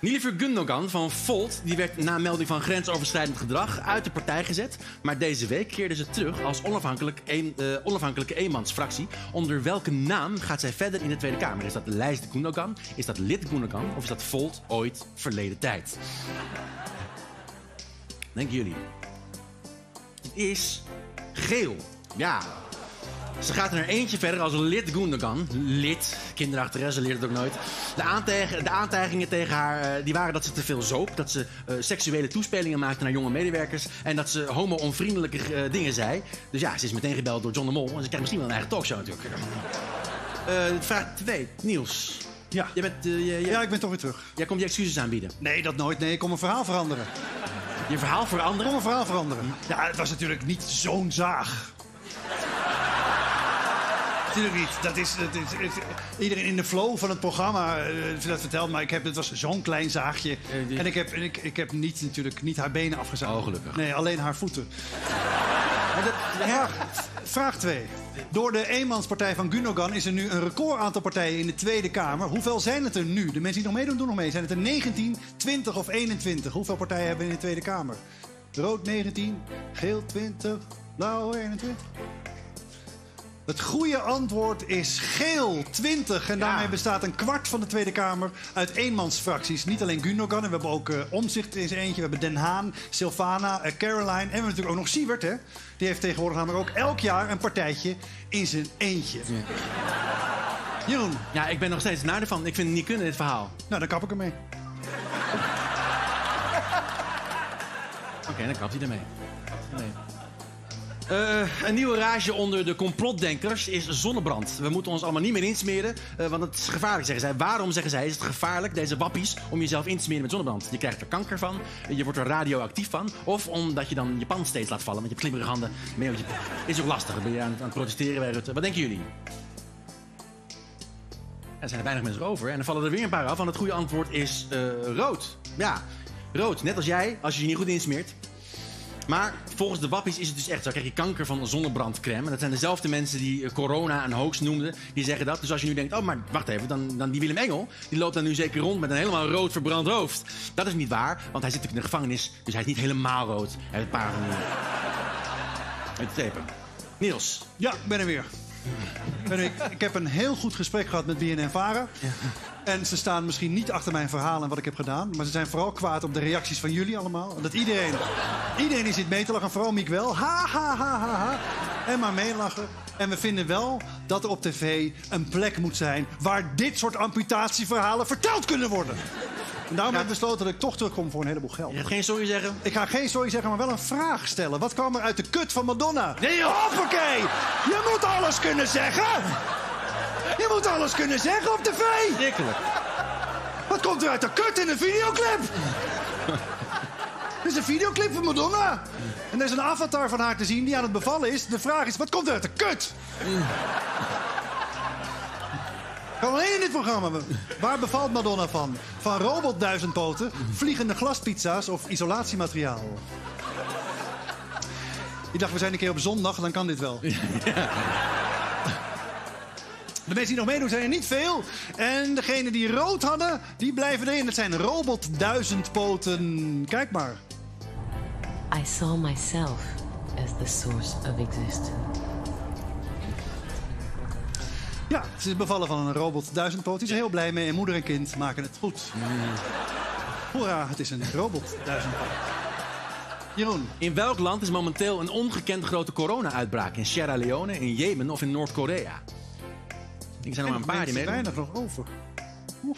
[SPEAKER 5] Nilüfer Gundogan van Volt die werd na melding van grensoverschrijdend gedrag uit de partij gezet. Maar deze week keerde ze terug als onafhankelijk een, eh, onafhankelijke eenmansfractie. Onder welke naam gaat zij verder in de Tweede Kamer? Is dat de lijst Gundogan? Is dat lid Gundogan? Of is dat Volt ooit verleden tijd? Denken jullie. Het is geel. Ja. Ze gaat er eentje verder als lid Gundogan. Lid. Kinderachteressen leert het ook nooit. De, aantijg- de aantijgingen tegen haar eh, die waren dat ze te veel zoop. Dat ze eh, seksuele toespelingen maakte naar jonge medewerkers. En dat ze homo-onvriendelijke eh, dingen zei. Dus ja, ze is meteen gebeld door John de Mol. En ze krijgt misschien wel een eigen talkshow natuurlijk. Eh, vraag 2. Niels.
[SPEAKER 4] Ja.
[SPEAKER 5] Jij bent, eh, jij- jij-
[SPEAKER 4] Ja, ik ben toch weer terug.
[SPEAKER 5] Jij komt je excuses aanbieden.
[SPEAKER 4] Nee, dat nooit. Nee, ik kom een verhaal veranderen.
[SPEAKER 5] Je verhaal veranderen?
[SPEAKER 4] Ik kom een verhaal veranderen. Ja, het was natuurlijk niet zo'n zaag. Natuurlijk niet. Dat is, dat is, het- iedereen in de flow van het programma eh, heeft dat verteld, maar ik heb, het was zo'n klein zaagje. En ik heb, en ik, ik heb niet, natuurlijk niet haar benen afgezaagd. Eh, Oh, gelukkig. Nee, alleen haar voeten. Maar dat- ja, vraag 2. Door de eenmanspartij van Gundogan is er nu een record aantal partijen in de Tweede Kamer. Hoeveel zijn het er nu? De mensen die nog meedoen, doen nog mee. Zijn het er 19, 20 of 21? Hoeveel partijen hebben we in de Tweede Kamer? Rood 19, geel 20, blauw 21. Het goede antwoord is geel 20. En daarmee bestaat een kwart van de Tweede Kamer uit eenmansfracties. Niet alleen Gundogan, en we hebben ook eh, Omzicht in zijn eentje. We hebben Den Haan, Sylvana, eh, Caroline. En we hebben natuurlijk ook nog Siebert, hè? Die heeft tegenwoordig namelijk ook elk jaar een partijtje in zijn eentje. Jeroen.
[SPEAKER 5] Ja, ik ben nog steeds naar ervan. Ik vind het niet kunnen, dit verhaal.
[SPEAKER 4] Nou, dan kap ik ermee.
[SPEAKER 5] Oké, dan kapt hij ermee. Eh, een nieuwe rage onder de complotdenkers is zonnebrand. We moeten ons allemaal niet meer insmeren, eh, want het is gevaarlijk, zeggen zij. Waarom, zeggen zij, is het gevaarlijk, deze wappies, om jezelf in te smeren met zonnebrand? Je krijgt er kanker van, je wordt er radioactief van... of omdat je dan je pan steeds laat vallen, want je hebt glibberige handen. Maar ja, je- is ook lastig, dan ben je aan, aan het protesteren bij Rutte. Wat denken jullie? Er zijn er weinig mensen over. En dan vallen er weer een paar af. Want het goede antwoord is eh, rood. Ja, rood. Net als jij, als je je niet goed insmeert. Maar volgens de wappies is het dus echt zo. Krijg je kanker van zonnebrandcrème. En dat zijn dezelfde mensen die eh, corona een hoax noemden. Die zeggen dat. Dus als je nu denkt, oh maar wacht even. Dan, dan die Willem Engel, die loopt dan nu zeker rond met een helemaal rood verbrand hoofd. Dat is niet waar, want hij zit natuurlijk in de gevangenis. Dus hij is niet helemaal rood. Hij heeft een paar van die... Het tepen. Niels.
[SPEAKER 4] Ja, ik ben er weer. Ben er weer. ik, ik heb een heel goed gesprek gehad met BNN Varen. En ze staan misschien niet achter mijn verhaal en wat ik heb gedaan. Maar ze zijn vooral kwaad op de reacties van jullie allemaal. Dat iedereen, iedereen is dit mee te lachen. Vooral Miek wel. Ha, ha, ha, ha, ha. En maar meelachen. En we vinden wel dat er op tv een plek moet zijn... waar dit soort amputatieverhalen verteld kunnen worden. En daarom heb ik besloten dat ik toch terugkom voor een heleboel geld. Je
[SPEAKER 5] gaat geen sorry zeggen?
[SPEAKER 4] Ik ga geen sorry zeggen, maar wel een vraag stellen. Wat kwam er uit de kut van Madonna?
[SPEAKER 5] Nee, joh.
[SPEAKER 4] Hoppakee! Je moet alles kunnen zeggen! Je moet alles kunnen zeggen op tv!
[SPEAKER 5] Dikkelijk.
[SPEAKER 4] Wat komt er uit de kut in een videoclip? Dit is een videoclip van Madonna. En er is een avatar van haar te zien die aan het bevallen is. De vraag is, wat komt er uit de kut? Kan alleen in dit programma. Waar bevalt Madonna van? Van robot duizendpoten, vliegende glaspizza's of isolatiemateriaal? Ik dacht, we zijn een keer op zondag, dan kan dit wel. De mensen die nog meedoen zijn er niet veel. En degenen die rood hadden, die blijven erin. Dat zijn robot duizendpoten. Kijk maar.
[SPEAKER 20] I saw myself as the source of existence.
[SPEAKER 4] Ja, ze is bevallen van een robot duizendpoot. Die is er heel blij mee. En moeder en kind maken het goed.
[SPEAKER 5] Mm.
[SPEAKER 4] Hoera, het is een robot duizendpoot. Jeroen.
[SPEAKER 5] In welk land is momenteel een ongekend grote corona-uitbraak? In Sierra Leone, in Jemen of in Noord-Korea? Ik zijn er maar een paar die
[SPEAKER 4] Er
[SPEAKER 5] meedoen.
[SPEAKER 4] weinig nog over.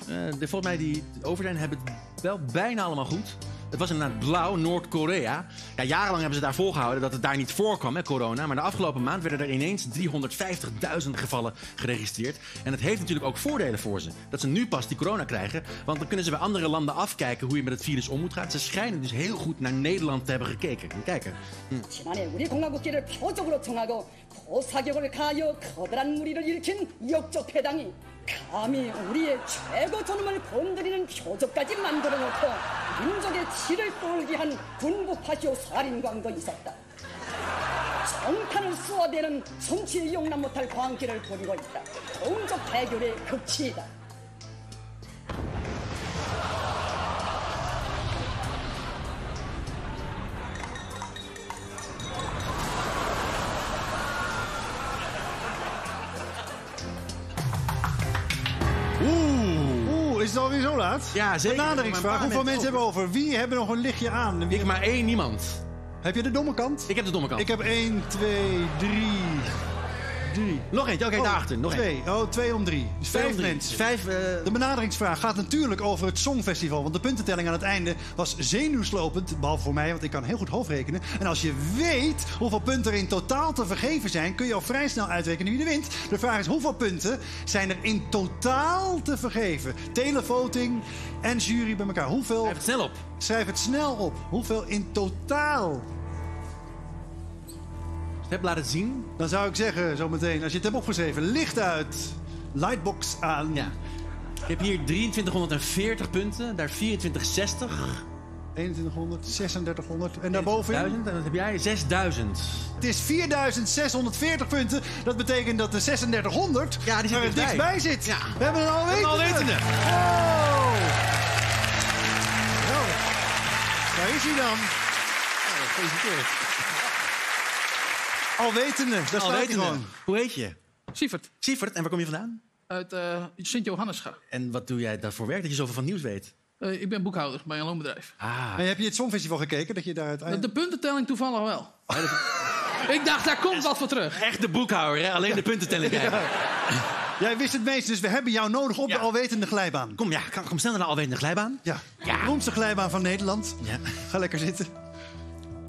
[SPEAKER 5] Eh, de, volgens mij die over zijn hebben het wel bijna allemaal goed. Het was inderdaad blauw, Noord-Korea. Ja, jarenlang hebben ze daar volgehouden dat het daar niet voorkwam, hè, corona. Maar de afgelopen maand werden er ineens 350.000 gevallen geregistreerd. En het heeft natuurlijk ook voordelen voor ze. Dat ze nu pas die corona krijgen. Want dan kunnen ze bij andere landen afkijken hoe je met het virus om moet gaan. Ze schijnen dus heel goed naar Nederland te hebben gekeken. Kijk, hè. Hm.
[SPEAKER 21] 지난해 우리 공화국기를 표적으로 정하고 포사격을 가하여 커다란 무리를 일으킨 역적 해당이 감히 우리의 최고 존엄을 건드리는 표적까지 만들어놓고 민족의 치를 떨게 한 군부파쇼 살인광도 있었다. 정탄을 쏘아대는 손치에 용납 못할 광기를 보이고 있다. 동족 대결의 극치이다.
[SPEAKER 4] Oeh. Oeh, is het alweer zo laat?
[SPEAKER 5] Ja, zeker. Maar een
[SPEAKER 4] Benaderingsvraag.
[SPEAKER 5] paar
[SPEAKER 4] Hoeveel mensen hebben
[SPEAKER 5] mensen
[SPEAKER 4] we over? Wie hebben nog een lichtje aan? En Wie
[SPEAKER 5] Ik maar één niemand.
[SPEAKER 4] Heb je de domme kant?
[SPEAKER 5] Ik heb de domme kant.
[SPEAKER 4] Ik heb 1, 2, 3, 3.
[SPEAKER 5] Nog eentje, oké, daarachter. Nog
[SPEAKER 4] twee. Oh, twee om drie. Dus
[SPEAKER 5] Twee
[SPEAKER 4] vijf
[SPEAKER 5] om drie.
[SPEAKER 4] mensen.
[SPEAKER 5] Vijf,
[SPEAKER 4] De benaderingsvraag gaat natuurlijk over het Songfestival. Want de puntentelling aan het einde was zenuwslopend. Behalve voor mij, want ik kan heel goed hoofdrekenen. En als je weet hoeveel punten er in totaal te vergeven zijn... kun je al vrij snel uitrekenen wie er wint. De vraag is hoeveel punten zijn er in totaal te vergeven? Televoting en jury bij elkaar. Hoeveel... Schrijf het
[SPEAKER 5] snel op.
[SPEAKER 4] Schrijf het snel op. Hoeveel in totaal
[SPEAKER 5] hebt laten zien?
[SPEAKER 4] Dan zou ik zeggen, zometeen, als je het hebt opgeschreven, licht uit, lightbox aan.
[SPEAKER 5] Ja. Ik heb hier 2340 punten, daar 2460.
[SPEAKER 4] 2100, 3600 en daarboven.
[SPEAKER 5] Duizend, en wat heb jij? 6000.
[SPEAKER 4] Het is 4640 punten. Dat betekent dat de 3600 ja,
[SPEAKER 5] die zit
[SPEAKER 4] er het
[SPEAKER 5] dichtbij.
[SPEAKER 4] dichtbij zit.
[SPEAKER 5] Ja.
[SPEAKER 4] We hebben een
[SPEAKER 5] We hebben
[SPEAKER 4] alwetende.
[SPEAKER 5] een alwetende.
[SPEAKER 4] Oh. Nou, daar is hij dan.
[SPEAKER 5] Gefeliciteerd.
[SPEAKER 4] Alwetende, daar staat hij gewoon.
[SPEAKER 5] Hoe heet je?
[SPEAKER 22] Oh, Sievert.
[SPEAKER 5] Sievert, en waar kom je vandaan?
[SPEAKER 22] Uit eh Sint-Johannescha.
[SPEAKER 5] En wat doe jij daarvoor werk dat je zoveel van nieuws weet?
[SPEAKER 22] Eh, ik ben boekhouder bij een loonbedrijf.
[SPEAKER 5] Ah.
[SPEAKER 4] En heb je het Songfestival gekeken? Dat je daar
[SPEAKER 22] De,
[SPEAKER 4] uiteindelijk...
[SPEAKER 22] de puntentelling toevallig wel. ik dacht, daar komt wat voor terug.
[SPEAKER 5] Echt de boekhouder, hè? alleen de puntentelling.
[SPEAKER 4] Ja.
[SPEAKER 5] kijken.
[SPEAKER 4] Jij wist het meest, dus we hebben jou nodig op de alwetende glijbaan.
[SPEAKER 5] Kom, ja, kom, kom snel naar de alwetende glijbaan.
[SPEAKER 4] Ja, de beroemdste glijbaan van Nederland. Ga lekker zitten.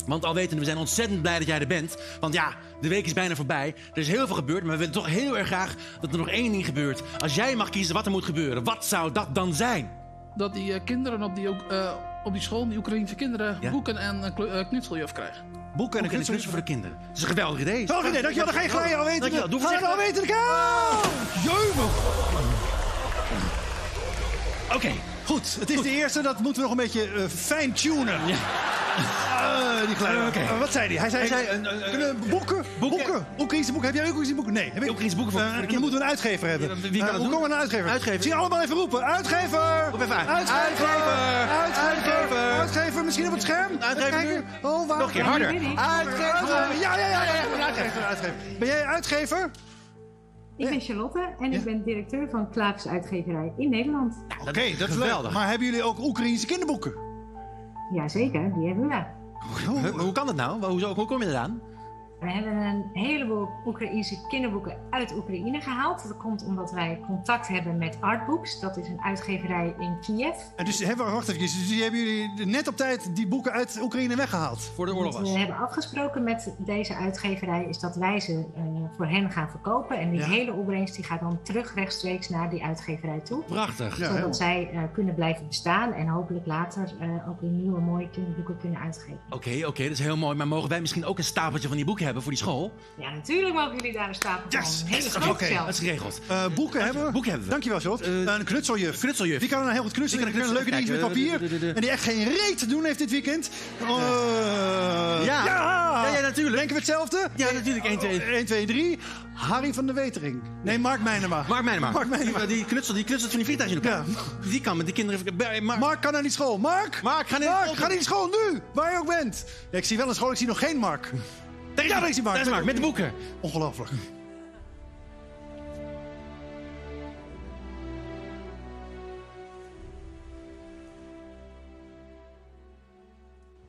[SPEAKER 5] Want al wetende, we zijn ontzettend blij dat jij er bent. Want ja, de week is bijna voorbij. Er is heel veel gebeurd, maar we willen toch heel erg graag dat er nog één ding gebeurt. Als jij mag kiezen wat er moet gebeuren, wat zou dat dan zijn?
[SPEAKER 22] Dat die eh, kinderen op die, Oek- eh, op die school, die Oekraïense kinderen, boeken en eh, kle- eh, knutseljuf krijgen.
[SPEAKER 5] Boeken en een knutsel voor de kinderen. Dat is een geweldig idee.
[SPEAKER 22] Geweldig idee, dankjewel. Dan ga je glijden,
[SPEAKER 5] al
[SPEAKER 22] alwetende.
[SPEAKER 5] weten. Doe
[SPEAKER 22] Ga je
[SPEAKER 5] voorzichtig. Oh.
[SPEAKER 4] Alwetend, go!
[SPEAKER 5] Oké,
[SPEAKER 4] goed. Het is de eerste, dat moeten we nog een beetje eh, fijn-tunen. Eh, die kleine.
[SPEAKER 5] Eh, oké.
[SPEAKER 4] Eh, wat zei hij? Hij zei,
[SPEAKER 5] Hij zei, een, eh, een,
[SPEAKER 4] kunnen we boeken, boeken, boeken. Oekraïnse boeken. Heb jij ook Oekraïnse boeken? Nee. Heb ik Oekraïnse boeken
[SPEAKER 5] voor- voor de
[SPEAKER 4] dan
[SPEAKER 5] kinderen.
[SPEAKER 4] moeten we een uitgever hebben.
[SPEAKER 5] Wie- wie kan
[SPEAKER 4] Eh,
[SPEAKER 5] dat
[SPEAKER 4] hoe
[SPEAKER 5] doen?
[SPEAKER 4] komen we naar een uitgever?
[SPEAKER 5] Uitgever.
[SPEAKER 4] Zie je allemaal even roepen. Uitgever!
[SPEAKER 5] Roep even uit.
[SPEAKER 4] Uitgever!
[SPEAKER 5] Uitgever!
[SPEAKER 4] Uitgever!
[SPEAKER 5] Uitgever!
[SPEAKER 4] Uitgever, Misschien op het scherm?
[SPEAKER 5] Uitgever
[SPEAKER 4] Even kijken. Oh, waar?
[SPEAKER 5] Nog een keer harder.
[SPEAKER 4] Uitgever! Ja, ja, ja. ja, ja. Uitgever, uitgever. Ben jij uitgever?
[SPEAKER 1] Ik ben Charlotte en ik ben directeur van Klaaks Uitgeverij in Nederland.
[SPEAKER 4] Oké, dat is leuk. Maar hebben jullie ook Oekraïnse kinderboeken?
[SPEAKER 1] Jazeker, die hebben we.
[SPEAKER 5] Hoe, hoe kan dat nou? Hoe, hoe kom je eraan?
[SPEAKER 1] We hebben een heleboel Oekraïnse kinderboeken uit Oekraïne gehaald. Dat komt omdat wij contact hebben met Artbooks. Dat is een uitgeverij in Kiev.
[SPEAKER 4] En dus, hebben, wacht even, dus die hebben jullie net op tijd die boeken uit Oekraïne weggehaald? Eh,
[SPEAKER 5] Voor de
[SPEAKER 1] Wat we hebben afgesproken met deze uitgeverij is dat wij ze eh, voor hen gaan verkopen. En die
[SPEAKER 5] Ja.
[SPEAKER 1] hele opbrengst die gaat dan terug rechtstreeks naar die uitgeverij toe.
[SPEAKER 5] Prachtig. Ja,
[SPEAKER 1] Zodat
[SPEAKER 5] helemaal.
[SPEAKER 1] zij eh, kunnen blijven bestaan en hopelijk later eh, ook weer nieuwe mooie kinderboeken kunnen uitgeven.
[SPEAKER 5] Oké, oké, dat is heel mooi. Maar mogen wij misschien ook een stapeltje van die boeken hebben voor die school?
[SPEAKER 1] Ja, natuurlijk mogen jullie daar een stapel van. Een hele
[SPEAKER 5] Yes,
[SPEAKER 1] grote
[SPEAKER 5] Oké,
[SPEAKER 1] zelfs.
[SPEAKER 5] dat is geregeld.
[SPEAKER 4] Eh, boeken hebben we.
[SPEAKER 5] Boeken hebben we.
[SPEAKER 4] Dankjewel, Charlotte. een knutseljuf.
[SPEAKER 5] knutseljuf.
[SPEAKER 4] Die kan nou heel goed knutselen. Die
[SPEAKER 5] Die kan
[SPEAKER 4] kan
[SPEAKER 5] een
[SPEAKER 4] leuke dingen met
[SPEAKER 5] knutseljuf.
[SPEAKER 4] papier.
[SPEAKER 5] Kijk, eh, de- de- de- de-
[SPEAKER 4] En die echt geen reet te doen heeft dit weekend. Eh,
[SPEAKER 5] Ja. Ja, ja, natuurlijk.
[SPEAKER 4] Denken we hetzelfde?
[SPEAKER 5] Ja, natuurlijk. 1, 2,
[SPEAKER 4] 1, 2, 3. Harry van der Wetering. Nee, Mark Meijnema.
[SPEAKER 5] Mark Meijnema.
[SPEAKER 4] Mark Meijnema.
[SPEAKER 5] Die, die knutselt, die knutselt van die vliegtuigjes in elkaar. Die kan met die kinderen... Bij- Mark,
[SPEAKER 4] Mark kan naar die school. Mark!
[SPEAKER 5] Mark, ga naar die school.
[SPEAKER 4] ga naar die school nu! Waar je ook bent. Ja, ik zie wel een school, ik zie nog geen Mark.
[SPEAKER 5] Daar is
[SPEAKER 4] ja, daar is die Mark.
[SPEAKER 5] daar is Mark, met de boeken.
[SPEAKER 4] Ongelooflijk.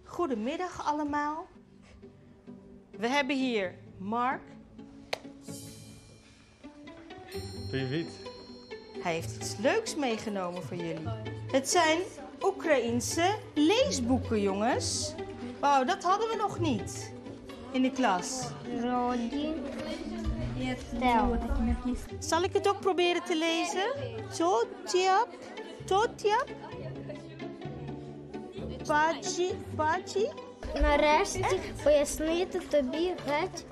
[SPEAKER 3] Goedemiddag allemaal. We hebben hier Mark.
[SPEAKER 23] Привет.
[SPEAKER 3] Hij heeft iets leuks meegenomen voor jullie. Het zijn Oekraïense leesboeken, jongens. Wauw, dat hadden we nog niet in de klas.
[SPEAKER 24] Роги.
[SPEAKER 3] Тел. Zal ik het ook proberen te lezen? Totiap, totiap. Pachi, pachi.
[SPEAKER 24] Нарешті пояснити тобі геть.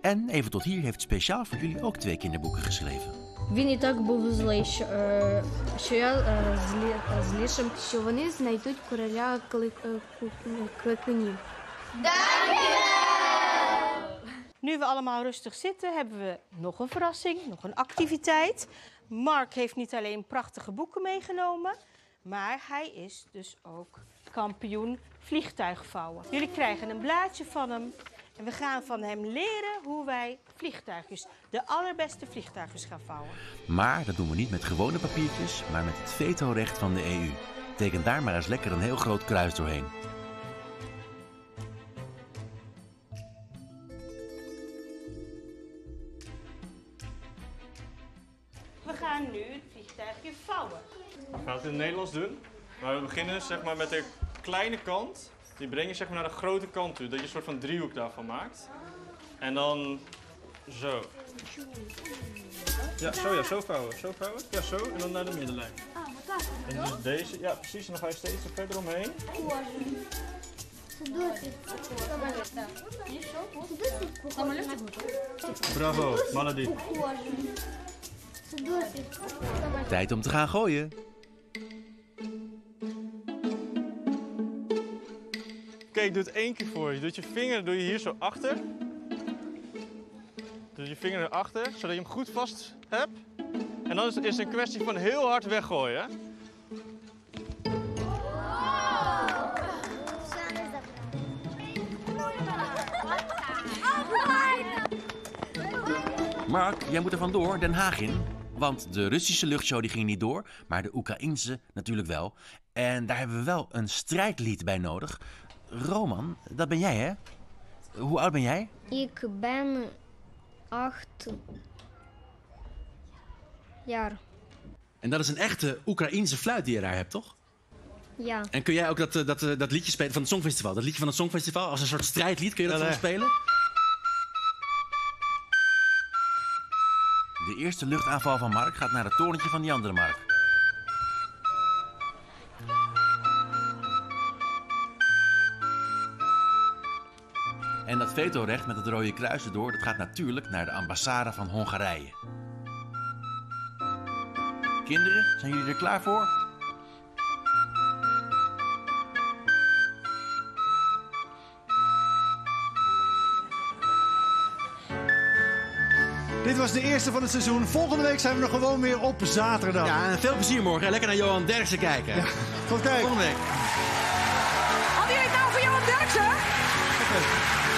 [SPEAKER 25] En even tot hier heeft speciaal voor jullie ook twee kinderboeken geschreven.
[SPEAKER 24] Він і так був злий, що, е, що я е, злі, е, злішим. Що вони знайдуть короля клик, е, ку- ну, кликунів.
[SPEAKER 3] Nu we allemaal rustig zitten, hebben we nog een verrassing, nog een activiteit. Mark heeft niet alleen prachtige boeken meegenomen, maar hij is dus ook kampioen vliegtuigvouwen. Jullie krijgen een blaadje van hem en we gaan van hem leren hoe wij vliegtuigjes, de allerbeste vliegtuigjes gaan vouwen.
[SPEAKER 25] Maar dat doen we niet met gewone papiertjes, maar met het vetorecht van de EU. Teken daar maar eens lekker een heel groot kruis doorheen.
[SPEAKER 3] We gaan nu het vliegtuigje vouwen.
[SPEAKER 23] We gaan het in het Nederlands doen. Maar we beginnen zeg maar, met de kleine kant. Die breng je zeg maar, naar de grote kant toe. Dat je een soort van driehoek daarvan maakt. En dan zo. Ja, zo ja, zo vouwen. Zo vouwen. Ja, zo. En dan naar de middenlijn. En dus deze. Ja, precies. En dan ga je steeds er verder omheen. Bravo, Maladi.
[SPEAKER 25] Tijd om te gaan gooien.
[SPEAKER 23] Kijk, doe het één keer voor je. Doet je vinger doe je hier zo achter. Doe je vinger erachter, zodat je hem goed vast hebt. En dan is, is het een kwestie van heel hard weggooien. hè?
[SPEAKER 25] Mark, jij moet er vandoor, Den Haag in. Want de Russische luchtshow die ging niet door, maar de Oekraïense natuurlijk wel. En daar hebben we wel een strijdlied bij nodig. Roman, dat ben jij hè? Hoe oud ben jij?
[SPEAKER 24] Ik ben acht jaar.
[SPEAKER 5] En dat is een echte Oekraïense fluit die je daar hebt, toch?
[SPEAKER 25] Ja.
[SPEAKER 26] En kun jij ook dat, eh, dat, eh, dat liedje spelen van het Songfestival? Dat liedje van het Songfestival als een soort strijdlied, kun je dat
[SPEAKER 5] Ja,
[SPEAKER 26] voor ons
[SPEAKER 5] nee.
[SPEAKER 26] spelen?
[SPEAKER 5] De eerste luchtaanval van Mark gaat naar het torentje van die andere Mark. En dat vetorecht met het Rode Kruis erdoor, dat gaat natuurlijk naar de ambassade van Hongarije. Kinderen, zijn jullie er klaar voor?
[SPEAKER 4] Dit was de eerste van het seizoen. Volgende week zijn we er gewoon weer op zaterdag.
[SPEAKER 26] Ja, en veel plezier morgen. Lekker naar Johan Derksen kijken.
[SPEAKER 4] Tot kijk.
[SPEAKER 26] Volgende week.
[SPEAKER 7] Hadden jullie het nou voor Johan Derksen?
[SPEAKER 4] Oké.